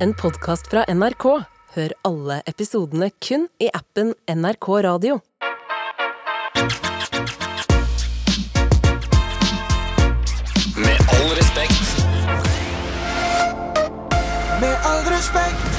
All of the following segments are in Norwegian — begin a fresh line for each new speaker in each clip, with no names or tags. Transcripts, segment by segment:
en podkast fra NRK. Hør alle episodene kun i appen NRK Radio.
Med all respekt.
Med all respekt.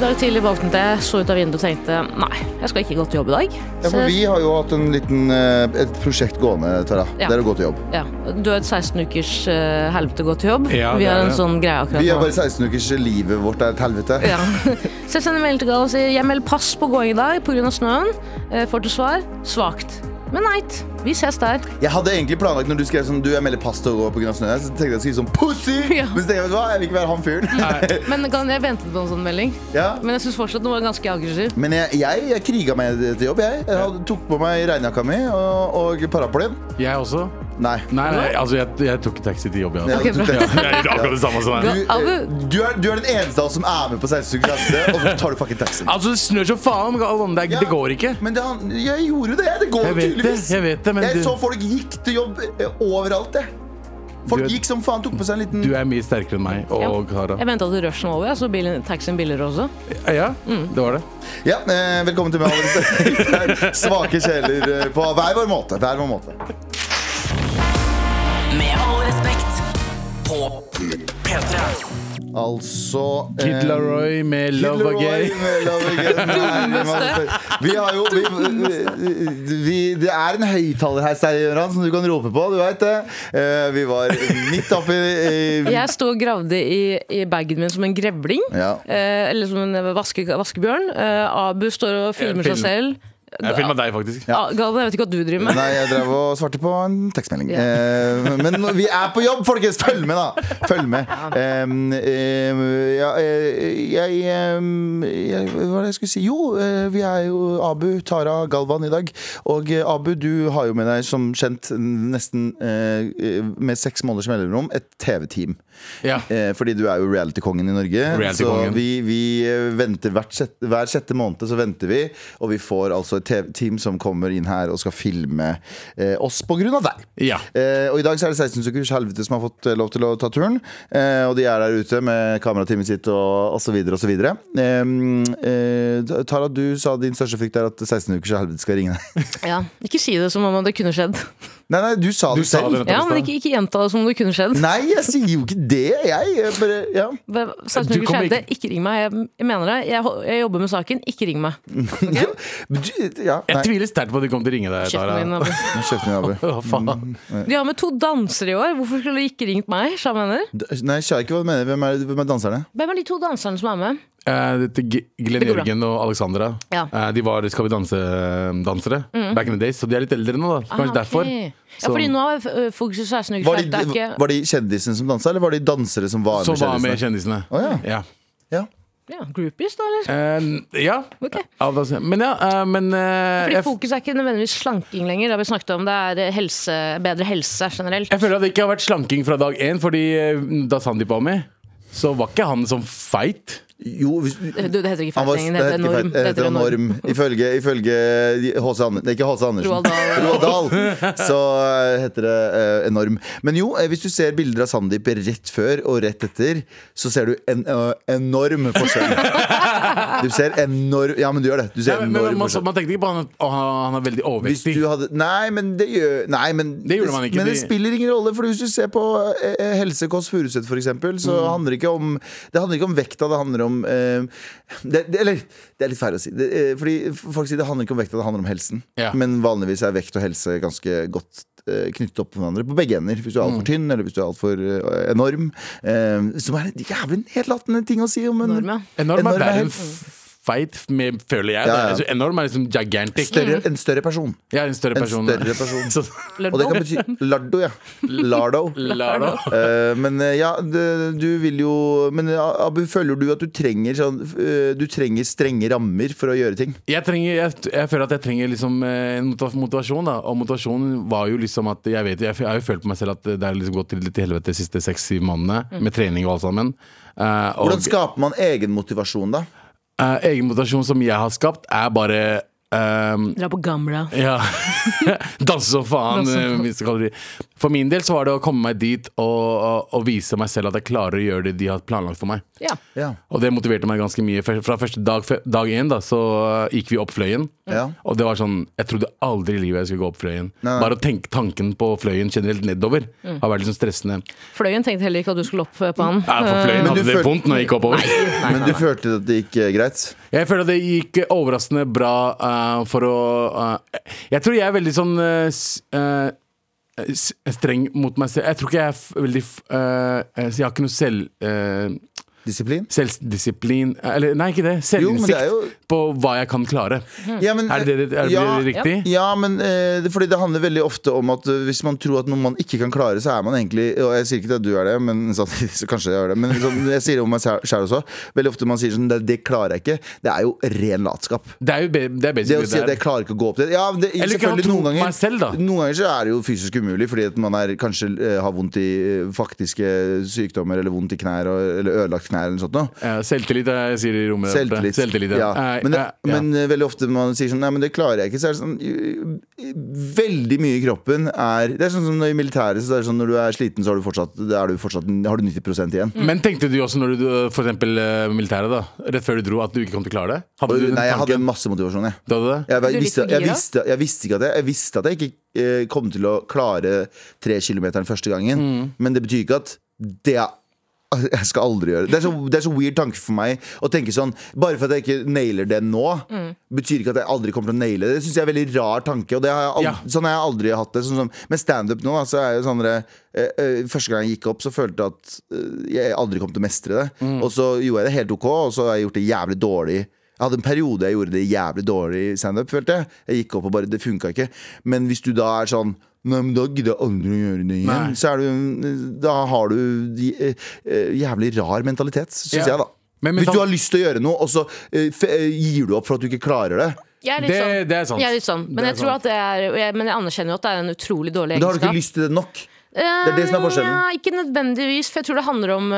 I dag tidlig våknet jeg, så ut av vinduet og tenkte nei, jeg skal ikke gå til jobb i dag.
Ja, for vi har jo hatt en liten, eh, et prosjekt gående, Tara.
Ja.
Det er å gå til jobb.
ja, du har et 16 ukers eh, helvete å gå til jobb.
Ja,
vi
det
har
er
en
det.
sånn greie akkurat
Vi
nå.
har bare 16 ukers livet vårt er et helvete.
Ja. Så jeg sender melding til Gal og sier jeg melder pass på gåing i dag pga. snøen. Eh, Får til svar svakt. Men neit, vi ses der.
Jeg hadde egentlig planlagt når du skrev sånn, du jeg melder pass til å gå på grunn av snø, så tenkte jeg å skrive sånn pussy!
Ja.
Men så tenkte jeg, vet du hva, jeg vil ikke være han fyren.
Men kan- jeg ventet på en sånn melding.
Ja.
Men jeg syns fortsatt den var ganske aggressiv.
Men jeg, jeg, jeg kriga meg til jobb, jeg. Jeg hadde, tok på meg regnjakka mi og, og paraplyen.
Jeg også?
Nei.
Nei, nei, altså jeg, jeg tok taxi til jobb. Ja.
Jeg
Ok,
tok
bra.
den.
Jeg gjorde akkurat det samme som
Du,
deg.
eh, du, er, du er den eneste av oss som er med på 16 ukers helvete, og så tar du fucking taxien.
Altså, det snør som faen. Galvan. Det, er- det går ikke.
Men det, han- jeg gjorde jo det. Det går
Jeg
jo
vet det,
tydeligvis.
jeg vet det, men du-
så folk gikk til jobb eh, overalt, jeg. Folk
Du er-
gikk som faen, tok på seg en liten
Du er mye sterkere enn meg og Kara.
Jeg venta til rushen var over, jeg så bilen, taxien billigere også.
Ja,
Mm.
det var det.
Ja, eh, velkommen til meg, Alice. Svake sjeler eh, på hver vår måte. Hver vår måte.
Med all respekt. På P3.
Altså eh,
Kid Laroi med
Kid
Love
Laroi
Again.
med Love Again. Nei, Vi har jo vi, vi, Det er en høyttaler her, Stein, som du kan rope på. Du veit det. Eh, vi var midt oppi eh,
Jeg sto og gravde i, i bagen min som en grevling.
ja.
Eh, eller som en vaske, vaskebjørn. Eh, Abu står og filmer
Jeg
seg selv.
Jeg filma deg, faktisk.
Ja. Ah, Galvan, jeg vet ikke hva du driver med.
Nei, jeg drev og svarte på en tekstmelding.
Ja.
Eh, men vi er på jobb, folkens! Følg med, da! Følg med. Em, em, ja, eh, jeg, em, jeg Hva var det jeg skulle si? Jo, eh, vi er jo Abu, Tara, Galvan i dag. Og eh, Abu, du har jo med deg, som kjent, nesten eh, med seks måneders mellomrom, et TV-team.
Ja.
Eh, fordi du er jo reality-kongen i Norge.
Reality-kongen.
Så vi, vi eh, venter hvert sjette, hver sjette måned så venter vi, og vi får altså et TV team som kommer inn her og skal filme eh, oss på grunn av deg.
Ja.
Eh, og i dag så er det 16 Sukers Helvete som har fått eh, lov til å ta turen. Eh, og de er der ute med kamerateamet sitt og, og så videre og så videre. Eh, eh, Tara, du sa din største frykt er at 16 Ukers Helvete skal ringe deg.
Ja. Ikke si det som om det kunne skjedd.
Nei, nei, du sa
Du
det
sa
selv.
det nettopp.
Ja, men ikke, ikke gjenta det som om det kunne skjedd.
Nei, jeg sier jo ikke det, jeg. jeg bare, ja.
Bare- Saken
Du
ikke
kommer
skjedde, ikke ring meg. Jeg, jeg mener det. Jeg, ho- jeg jobber med saken, ikke ring meg.
Men du- ja,
Jeg
nei.
tviler sterkt på at de kom til å ringe deg.
Kjeften din.
Tara.
Abu.
Nå kjefter jeg, Abu.
Hva faen?
De har med to dansere i år. Hvorfor skulle de ikke ringt meg? Sja mener?
D- Nei, jeg skjønner ikke hva du mener. Hvem er, hvem er danserne?
Hvem er de to danserne som er med?
Eh, dette G- Glenn
Det går bra.
Jørgen og Alexandra
Ja. Mm.
eh, De var Skal vi danse-dansere back in the days, så de er litt eldre nå. da så Kanskje
Ah,
derfor.
ok. Ja,
Så-
fordi nå er ø, fokuset 16 uker
Var
siden. Det
de,
er ikke
var de kjendisene som dansa, eller var de dansere som var
Som
med
var med
kjendisene?
kjendisene.
Å,
ja.
Ja.
ja, groupies, da, eller?
Eh, ja.
Ok.
Av danse- Men ja, eh, men eh,
Fordi
jeg, f-
fokuset er ikke nødvendigvis slanking lenger. Det har vi snakket om. Det er ø, helse, bedre helse generelt.
jeg føler at det ikke har vært slanking fra dag én, fordi eh, da Sandeep var med, så var ikke han sånn feit.
Jo, hvis,
Du, det heter ikke
han var, det
feitingen, det heter
heter ikke
norm.
feil- det heter norm. Ifølge ifølge de- H.C. Andersen Nei, Ikke H.C.
Roald
Andersen.
Dahl.
Roald Dahl. Så eh, heter det eh, enorm. Men jo, eh, hvis du ser bilder av Sandeep rett før og rett etter, så ser du en eh, enorm forskjell. Du ser enorm Ja, men du gjør det. Du
Nei,
ser
men, men,
enorm
man,
forskjell.
man tenkte ikke på han at å, han han er veldig
Hvis
overvektig.
du hadde, nei, men det gjør nei, men,
Det gjorde man ikke,
Men det
de-
spiller ingen rolle, for hvis du ser på eh, Helse Kåss Furuseth f.eks., så
Mm.
handler det ikke om Det handler ikke om vekta, det handler om eh, det, det, Eller det er litt feil å si. Det, eh, fordi folk sier det handler ikke om vekta, det handler om helsen.
Ja.
Men vanligvis er vekt og helse ganske godt eh, knyttet opp til hverandre på begge ender. Hvis du er altfor
Mm.
tynn, eller hvis du er altfor eh, enorm. eh, som er en jævlig nedlatende ting å si om en
Norm, ja.
Enorm er
Enorm er
verre enn
helt-
f- feit, med, føler jeg.
Ja, ja.
Altså, enorm er liksom gigantic.
større, en større person.
Jeg er en større
En
person.
større person.
Så-
Og det kan bety lardo, ja. Lardo.
Lara.
Eh, men eh, ja, det, du vil jo Men eh, Abu, føler du at du trenger sånn eh, Du trenger strenge rammer for å gjøre ting?
Jeg, trenger, jeg, jeg føler at jeg trenger liksom eh, en motiva- motivasjon. da Og motivasjonen var jo liksom at jeg vet Jeg, jeg har jo følt på meg selv at det har liksom gått til, til helvete de siste seks-syv månedene.
Mm.
Med trening og alt sammen. Eh, og
Hvordan skaper man egen motivasjon, da?
eh, egen motivasjon som jeg har skapt, er bare Ehm,
Dra på Gamla.
ja. Danse som faen,
Danse som faen.
eh, minste kalori. For min del så var det å komme meg dit og, og, og vise meg selv at jeg klarer å gjøre det de har planlagt for meg.
Ja.
Ja.
Og det motiverte meg ganske mye. Fra fra første dag, dag én da, så eh, gikk vi opp fløyen.
Ja.
Og det var sånn, jeg trodde aldri i livet jeg skulle gå opp fløyen.
Nei.
Bare å tenke tanken på fløyen generelt nedover har vært litt sånn stressende.
Fløyen tenkte heller ikke at du skulle opp eh, på han.
Ja, for
Men
fløyen
du
hadde det
følte-
vondt når jeg gikk oppover.
Men du følte at det gikk eh, greit?
Jeg føler at det gikk overraskende bra eh, for å eh, Jeg tror jeg er veldig sånn eh, s- eh, s- streng mot meg selv. Jeg tror ikke jeg er f veldig f eh, eh, Jeg har ikke noe selv, eh,
Disiplin?
selvdisciplin eh, Eller nei, ikke det.
Jo, men det
Selvinnsikt
er jo-
på hva jeg kan klare.
Ja, men, eh,
Er det, er det, er det
ja,
riktig?
Ja, men eh, det- fordi det handler veldig ofte om at eh, hvis man tror at noe man ikke kan klare, så er man egentlig Og jeg sier ikke at du er det, men samtidig så kanskje jeg er det. Men liksom, jeg sier det om meg sjæl også. Veldig ofte man sier sånn det, 'det klarer jeg ikke'. Det er jo ren latskap.
Det er jo be- det er
Det å
basically
si at
det
jeg
der.
klarer ikke å gå opp dit ja, det,
Eller ikke ha
selvfølgelig,
tro
noen
på
ganger,
meg selv, da.
Noen ganger så er det jo fysisk umulig, fordi at man er, kanskje eh, har vondt i eh, faktiske sykdommer, eller vondt i knær, og, eller ødelagt knær, eller noe sånt. Noe.
Ja, Selvtillit er det jeg sier i rommet. der borte.
Selvtillit.
Selvtillit ja.
ja.
Eh,
Men, det,
eh, ja.
men eh, veldig ofte man sier sånn Nei, men det klarer jeg ikke. Så er det sånn eh, Veldig mye i kroppen er Det er sånn som når i militæret. Så er det sånn når du er sliten, så har du fortsatt, da er du fortsatt har du 90 igjen.
Men tenkte du også når du for eksempel eh, militæret, da rett før du dro, at du ikke kom til å klare det? Hadde
Og,
du den
nei, jeg hadde
tanken?
masse motivasjon, jeg.
Du hadde det?
Jeg,
Du
visste,
likte
jeg,
gira?
visste, jeg visste ikke at jeg, jeg visste at jeg ikke eh, kom til å klare tre kilometeren første gangen.
Mm.
Men det betyr ikke at det er jeg skal aldri gjøre det. Det er, så, det er så weird tanke for meg å tenke sånn Bare for at jeg ikke nailer det nå,
Mm.
betyr ikke at jeg aldri kommer til å naile det. Det syns jeg er en veldig rar tanke. Og det har jeg aldri,
Ja.
Sånn har jeg aldri hatt det. Sånn som, med standup nå, da, så er jo sånn dere, eh, eh, Første gang jeg gikk opp, så følte jeg at eh, jeg aldri kom til å mestre det.
Mm.
Og så gjorde jeg det helt ok, og så har jeg gjort det jævlig dårlig. Jeg hadde en periode jeg gjorde det jævlig dårlig i standup, følte jeg. Jeg gikk opp og bare Det funka ikke. Men hvis du da er sånn Nei, men da gidder jeg aldri å gjøre det igjen.
Nei.
Så er du, da har du de- eh, eh, jævlig rar mentalitet, syns
Ja.
jeg, da.
Men
Hvis
mental-
du har lyst til å gjøre noe, og så eh, f eh, gir du opp for at du ikke klarer det.
Jeg er litt
Det-
sånn.
det er sant.
Jeg er litt sånn. Men
Det er
jeg tror
sant.
at det er og jeg, Men jeg anerkjenner jo at det er en utrolig dårlig
Men da har du
egenskap.
ikke lyst til det nok. er det som er forskjellen.
Eh, Ja, ikke nødvendigvis, for jeg tror det handler om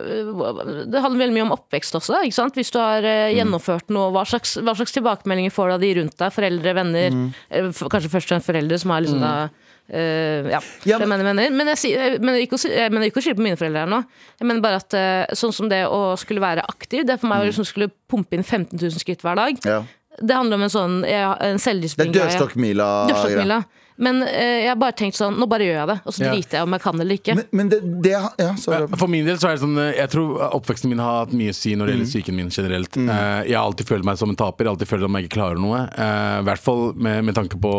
eh, Det handler veldig mye om oppvekst også. Ikke sant? Hvis du har eh,
Mm.
gjennomført noe, hva slags, hva slags tilbakemeldinger får du av de rundt deg? Foreldre, venner?
Mm.
eh, f- Kanskje først og fremst foreldre, som har liksom da eh, ja,
Ja,
det
men-
mener venner. Men jeg, sier- jeg mener ikke å si- jeg mener ikke å skylde på mine foreldre her nå. Jeg mener bare at eh, sånn som det å skulle være aktiv Det er for meg
Mm.
å liksom skulle pumpe inn 15 000 skritt hver dag.
Ja.
Det handler om en sånn ja, en
Det er
selvdisiplin-greie.
dørstokkmila.
Dørstokkmila. Men eh, jeg har bare tenkt sånn, nå bare gjør jeg det. Og så
Ja.
driter jeg om jeg kan eller ikke.
Men, men det, det Ja, sorry.
For min del så er det sånn eh, Jeg tror oppveksten min har hatt mye å si når det gjelder
Mm.
psyken min generelt. Eh, Jeg har alltid følt meg som en taper, jeg har alltid følt at jeg ikke klarer noe. Eh, I hvert fall med, med tanke på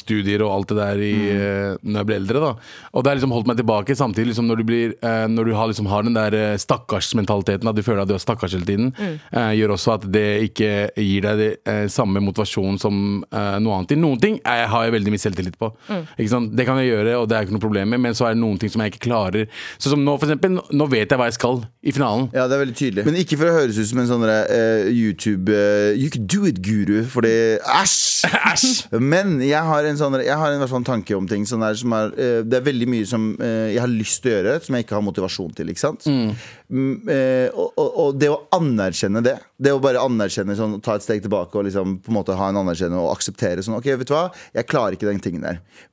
studier og alt det der i,
Mm.
eh, når jeg ble eldre. da Og det har liksom holdt meg tilbake, samtidig liksom når du, blir, eh, når du har, liksom, har den der eh, stakkarsmentaliteten, at du føler at du er stakkars hele tiden, eh, gjør også at det ikke gir deg det eh, samme motivasjon som eh, noe annet. I noen ting er, jeg- har jeg veldig mye selvtillit på. Ikke sant? Det kan jeg gjøre, og det er ikke noe problem med, men så er det noen ting som jeg ikke klarer. Sånn som nå, for eksempel. nå- Nå vet jeg hva jeg skal i finalen.
Ja, det er veldig tydelig Men ikke for å høres ut som en sånn eh, YouTube eh, You can do it-guru, fordi Æsj!
Æsj!
Men jeg har en, sånn, jeg har en, i hvert fall en tanke om ting sånn der, som er, eh, Det er veldig mye som eh, jeg har lyst til å gjøre, som jeg ikke har motivasjon til. Ikke sant? Mm, eh, og, og, og det å anerkjenne det, det å bare anerkjenne sånn, ta et steg tilbake og liksom, på en måte ha en anerkjennelse og akseptere sånn OK, vet du hva, jeg klarer ikke den tingen der.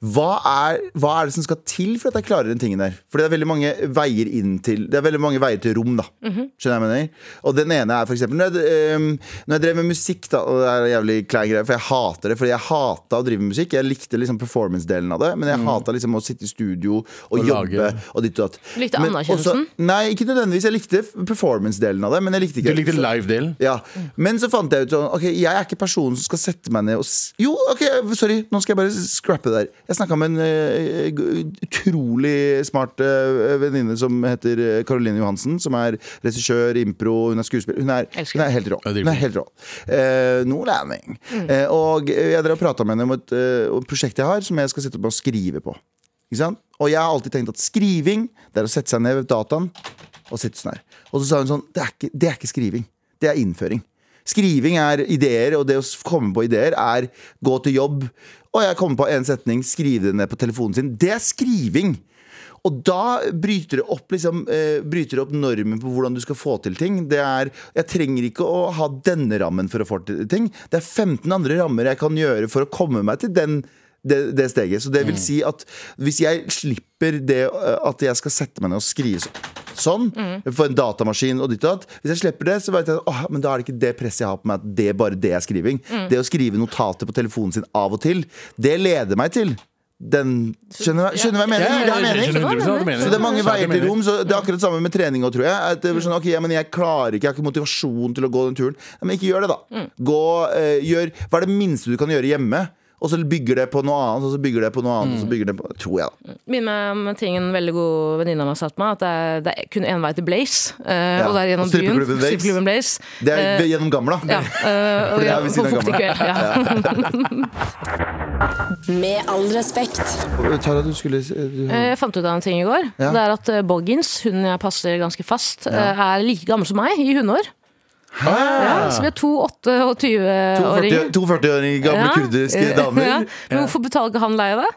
Hva er, hva er det som skal til for at jeg klarer den tingen der? For det er veldig mange veier inn til Det er veldig mange veier til rom, da. Skjønner jeg hva jeg mener? Og den ene er for eksempel når jeg, eh, når jeg drev med musikk, da, og det er en jævlig klein greie, for jeg hater det. Fordi jeg hata å drive med musikk. Jeg likte liksom performance-delen av det, men jeg hata liksom å sitte i studio og,
lage.
jobbe og ditt og datt.
Likte
Men
anerkjennelsen?
også- Nei, ikke nødvendigvis. Jeg likte performance-delen av det, men jeg likte
Du
ikke
likte
så-
live-delen.
ja. Men så fant jeg ut sånn, Ok, jeg er ikke personen som skal sette meg ned og s Jo, ok, sorry, nå skal jeg bare scrappe det der. Jeg snakka med en eh, g- utrolig smart eh, venninne som heter eh, Caroline Johansen. Som er regissør, impro, hun er skuespiller. Hun er,
Elsker.
hun er helt rå.
Ja, det er
Hun er
flink.
helt rå. Eh, Nordlending. Eh, og jeg drev og prata med henne om et eh, om et prosjekt jeg har, som jeg skal sette meg og skrive på. Ikke sant? Og jeg har alltid tenkt at skriving Det er å sette seg ned ved dataen og sitte sånn her. Og så sa hun sånn Det er ikke, det er ikke skriving. Det er innføring. Skriving er ideer, og det å s- komme på ideer er gå til jobb. Og jeg kommer på en setning, skrive det ned på telefonen sin. Det er skriving. Og da bryter det opp, liksom, eh, bryter det opp normen på hvordan du skal få til ting. Det er, jeg trenger ikke å ha denne rammen for å få til ting. Det er 15 andre rammer jeg kan gjøre for å komme meg til den det, det steget. Så det vil
Mm.
si at hvis jeg slipper det eh, at jeg skal sette meg ned og skrive så- sånn,
Mm.
for en datamaskin og ditt og datt Hvis jeg slipper det, så vet jeg at åh, men da er det ikke det presset jeg har på meg, at det er bare det er skriving.
Mm.
Det å skrive notater på telefonen sin av og til, det leder meg til den Skjønner du skjønner du hva jeg mener?
Ja,
Det er
jeg
mening.
skjønner 100% hva du mener.
Så det er mange
Ja, det
veier til
mener.
rom. Så det er akkurat det samme med trening òg, tror jeg. At det er sånn, ok, ja, men jeg klarer ikke, jeg har ikke motivasjon til å gå den turen. Ja, Men ikke gjør det,
Mm.
da. Gå, eh, gjør, hva er det minste du kan gjøre hjemme? Og så bygger det på noe annet, og så bygger det på
Mm.
noe annet. Og så bygger det på, tror jeg, da.
Minner meg om ting en veldig god venninne av meg sa til meg, at det er, det er kun én vei til Blaze. eh,
Ja,
Og det er gjennom
og strippeklubben
byen.
Blaze.
Strippeklubben Blaze.
Det er
Eh,
ved- gjennom gamle, da.
ja, eh, og
det er
ja,
ved
på
siden av
fuktig kveld. Ja.
Med all respekt.
Tara, du skulle du,
Eh, Jeg fant ut av en ting i går.
Ja.
Det er at eh, Boggins, hun jeg passer ganske fast, eh, er like gammel som meg i hundeår. Ja, så vi er to 8- og 20-åringer.
42-åringer, gamle kurdiske damer.
Ja. Men hvorfor betaler ikke han leie, da?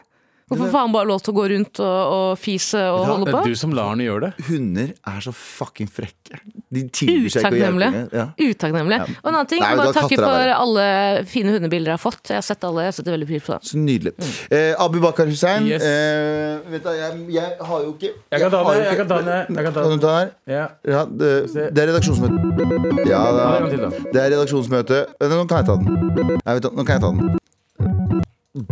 Hvorfor får han bare lov til å gå rundt og, og fise og holde
Det
på?
er du som lar henne gjøre det.
Hunder er så fucking frekke. De tilbyr seg ikke å hjelpe
Utakknemlig.
engang. Ja.
Utakknemlig.
Ja.
Og en annen ting,
Nei,
jeg
da
bare takke
katter er
for
verre.
alle fine hundebilder jeg har fått. Jeg har sett alle, jeg setter veldig pris på det.
Så nydelig.
Mm.
Eh, Abu Bakar Hussein,
Yes.
eh, vet du, jeg, jeg har jo ikke
Jeg kan ta
har
det,
jo
jeg
ikke-
kan ta det, jeg kan ta
Kan du ta den?
Ja.
Ja, det, det er redaksjonsmøte. Ja, det
Ta det en
er,
gang til, da.
det er redaksjonsmøte. Vent, Nå kan jeg ta den. Nei, vet du, nå kan jeg ta den.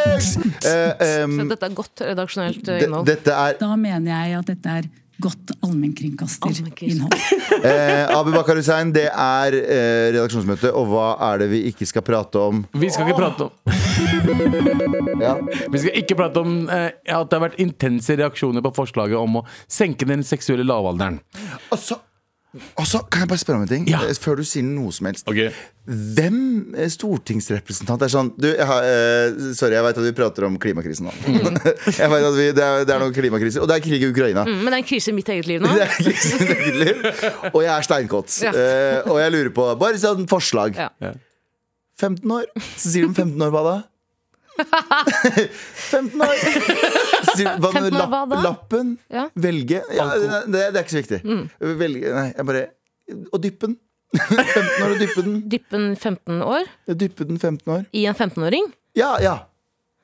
Remix! Eh, em,
Så dette er godt redaksjonelt eh,
de,
innhold.
dette er
Da mener jeg at dette er godt allmennkringkasterinnhold.
eh, Abu Bakar Hussein, det er eh, redaksjonsmøte, og hva er det vi ikke skal prate om?
Vi skal ikke prate om
Ja.
Vi skal ikke prate om eh, at det har vært intense reaksjoner på forslaget om å senke den seksuelle lavalderen.
Altså, altså, kan jeg bare spørre om en ting?
Ja.
Eh, Før du sier noe som helst.
Ok.
Hvem eh, stortingsrepresentant er sånn du, jeg har, eh, Sorry, jeg vet at vi prater om klimakrisen nå.
Mm.
jeg vet at vi, det, er, det er noen klimakriser, og det er krig i Ukraina.
Mm, Men det er en krise i mitt eget liv nå.
Det er krisen i eget liv. Og jeg er steinkåt.
Ja.
Eh, og jeg lurer på Bare sånn forslag.
Ja.
Ja.
15 år? Så sier de 15 år hva da? 15 år! Så sier, hva,
15 år,
med lapp,
hva da?
Lappen?
Ja. Mm.
Velge? Ja, det, det er ikke så viktig. Velge, nei, jeg bare Og dyppe den. 15 år og dyppe den.
Dyppe en 15 år
Dyppe den 15 år.
i en 15-åring.
Ja, ja.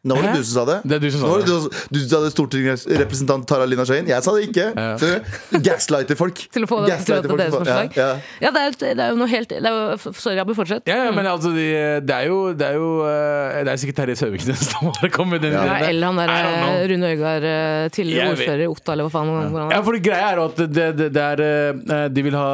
Nå var det
Hæ?
du som sa det.
Det er du som sa
Nå var
det.
Du, som- du som sa det stortingsrepresentant Tara Lina Skøyen. Jeg sa det ikke.
Ja.
Så Gaslighter folk.
Til å få det til å
Gaslighter
være deres
folk.
forslag.
Ja, ja.
Ja, det er, det er jo noe helt det er jo, f- Sorry, Abu, fortsett.
Ja, ja, men altså, de, det er jo Det er jo, eh, det er sikkert Terje Søviknes som har kommet med den
Ja,
ideen der.
eller han der
I don't know.
eh, Rune Øygard, eh, tidligere
Jeg vet-
ordfører i Otta, eller hva faen. hvor han
Ja,
er.
for greia er jo at det, det, det er, eh, de vil ha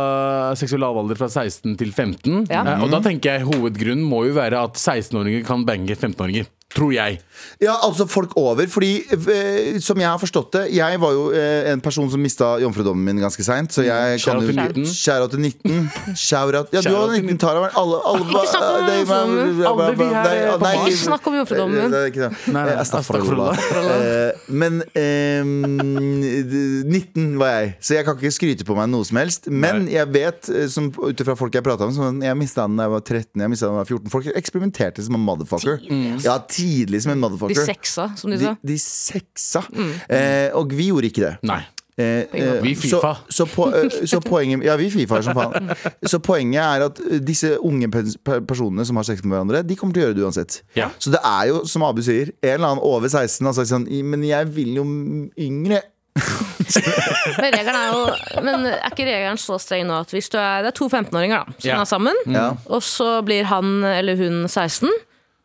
seksuell lavalder fra 16 til 15.
Ja. Mm.
eh, Og da tenker jeg hovedgrunnen må jo være at 16-åringer kan bange 15-åringer. Tror jeg.
Ja, altså folk over. Fordi, eh, som jeg har forstått det Jeg var jo eh, en person som mista jomfrudommen min ganske seint. Så jeg kan
Shout out
jo
til 19.
Shout out til 19. Shout out. Ja, du
Shout out
var
til
19, Tara. men Alle, alle
Ikke snakk om
det-
jomfrudommen.
Alle vi her er på
nei,
bar.
nei,
Ikke snakk om jomfrudommen.
Eh, det er ikke det.
Nei, nei,
Eh, Astagfirullah. Eh, Men eh, 19 var jeg, så jeg kan ikke skryte på meg noe som helst. Men jeg vet, eh, som ut ifra folk jeg prata med, sånn, jeg mista den da jeg var 13, jeg mistet den da jeg var 14. Folk eksperimenterte som en motherfucker. Ja, tidlig som en
De
motherfucker.
seksa, som de
De,
sa. Mm.
de seksa. Eh, og vi gjorde ikke det.
Nei.
Eh, eh,
Vi FIFA.
Så, så, på, eh, så poenget Ja, vi FIFA er som faen. Så poenget er at eh, disse unge pens- per- personene som har sex med hverandre, de kommer til å gjøre det uansett.
Ja.
Så det er jo, som Abu sier, en eller annen over 16 har sagt sånn "I, Men jeg vil jo yngre.
Men, regelen er jo, men er ikke regelen så streng nå at hvis du er, det er to 15-åringer da, som
Ja.
er sammen,
Ja.
og så blir han eller hun 16,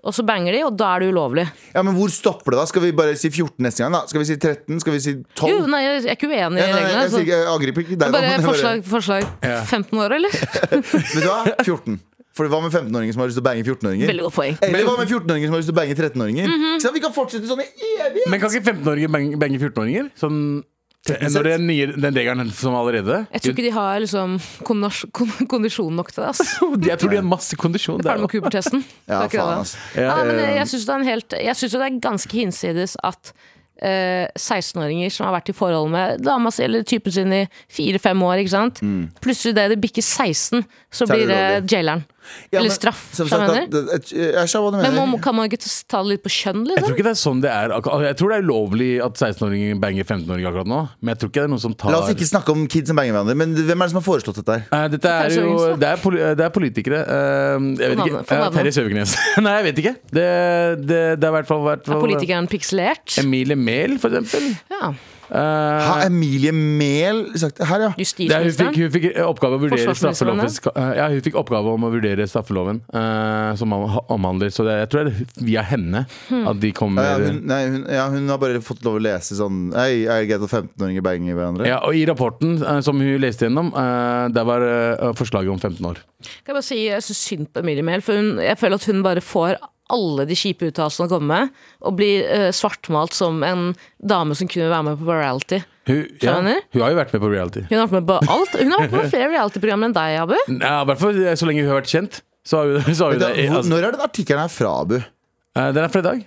og så banger de, og da er det ulovlig.
ja, men hvor stopper det, da? Skal vi bare si 14 neste gang? da? Skal vi si 13? Skal vi si 12?
Jo, nei, jeg er ikke uenig
Ja,
i
nei, nei, jeg,
reglene.
sier
Så.
ikke- jeg angriper ikke deg. nå,
Bare
men jeg
forslag, forslag. 15 år, eller?
Vet du hva? 14. For hva med 15-åringer som har lyst til å bange 14-åringer?
Veldig godt Mhm. poeng.
Eller hva med 14-åringer som har lyst til å bange 13-åringer? Ikke sant? Vi kan fortsette sånn i evighet!
Men kan ikke 15-åringer bange, bange 14-åringer? Sånn
Teknisk
når det er nye, den regelen som allerede
Jeg tror ikke de har liksom, kondas- kon- kondisjon nok til det. ass.
Jeg tror de har masse kondisjon.
Ferdig
Der,
med Cooper-testen.
Ja,
Det er ikke
faen, altså.
det.
ass.
Ja, nei, men
eh,
jeg syns det, er en helt- jeg synes jo det er ganske hinsides at eh, 16-åringer som har vært i forhold med dama si eller typen
Mm.
sin i fire-fem år, ikke sant? plutselig det det bikker 16, så
Så er det
blir det jaileren.
Ja,
Eller
men
straff,
som
skjønner
sagt, at- at- Jeg skjønner hva du
Men
mener.
må, kan man ikke ta det litt på kjønn,
Jeg tror
liksom?
ikke det er sånn det er. akkur- Jeg tror det er ulovlig at 16-åringer banger 15-åringer akkurat nå, men jeg tror ikke det er noen som tar
La oss ikke snakke om kids som banger hverandre, men hvem er det som har foreslått dette her?
Eh, Dette er
Kanskje
jo
Vince,
det er, poli det er politikere. eh, jeg vet
Få
ikke.
navnet- få
Eh,
navnet.
Terje Søviknes. Nei, jeg vet ikke. Det, det, det er i hvert fall vært
Er politikeren pikselert?
Emilie Mehl, for eksempel.
Ja.
Eh,
Har Emilie Mehl sagt det her, ja?
det er, Eh, hun, fikk,
Justisministeren?
hun fikk oppgave å vurdere
Forsvarsministeren,
straffeloven Ja, hun fikk oppgave om å vurdere straffeloven eh, som om- omhandler Så det, jeg tror det er via henne
Hmm.
at de kommer
Ja, hun, nei, hun, ja, hun har bare fått lov å lese sånn Hei, er det greit at 15-åringer banger hverandre?
Ja, og I rapporten eh, som hun leste gjennom, eh, der var eh, forslaget om 15 år.
Kan jeg bare si jeg syns synd på Emilie Mehl, for hun, jeg føler at hun bare får alle de kjipe uttalelsene å komme med, og blir eh, svartmalt som en dame som kunne være med på reality.
Hun, ja,
Skjønner?
hun har jo vært med på reality.
Hun har vært med på alt Hun har vært med på flere reality-programmer enn deg, Abu.
Ja, i hvert fall eh, så lenge hun har vært kjent. Så har hun, så har hun
Da,
det. Eh,
hvor,
Altså,
når er den artikkelen her fra, Abu?
eh, den er fra i dag.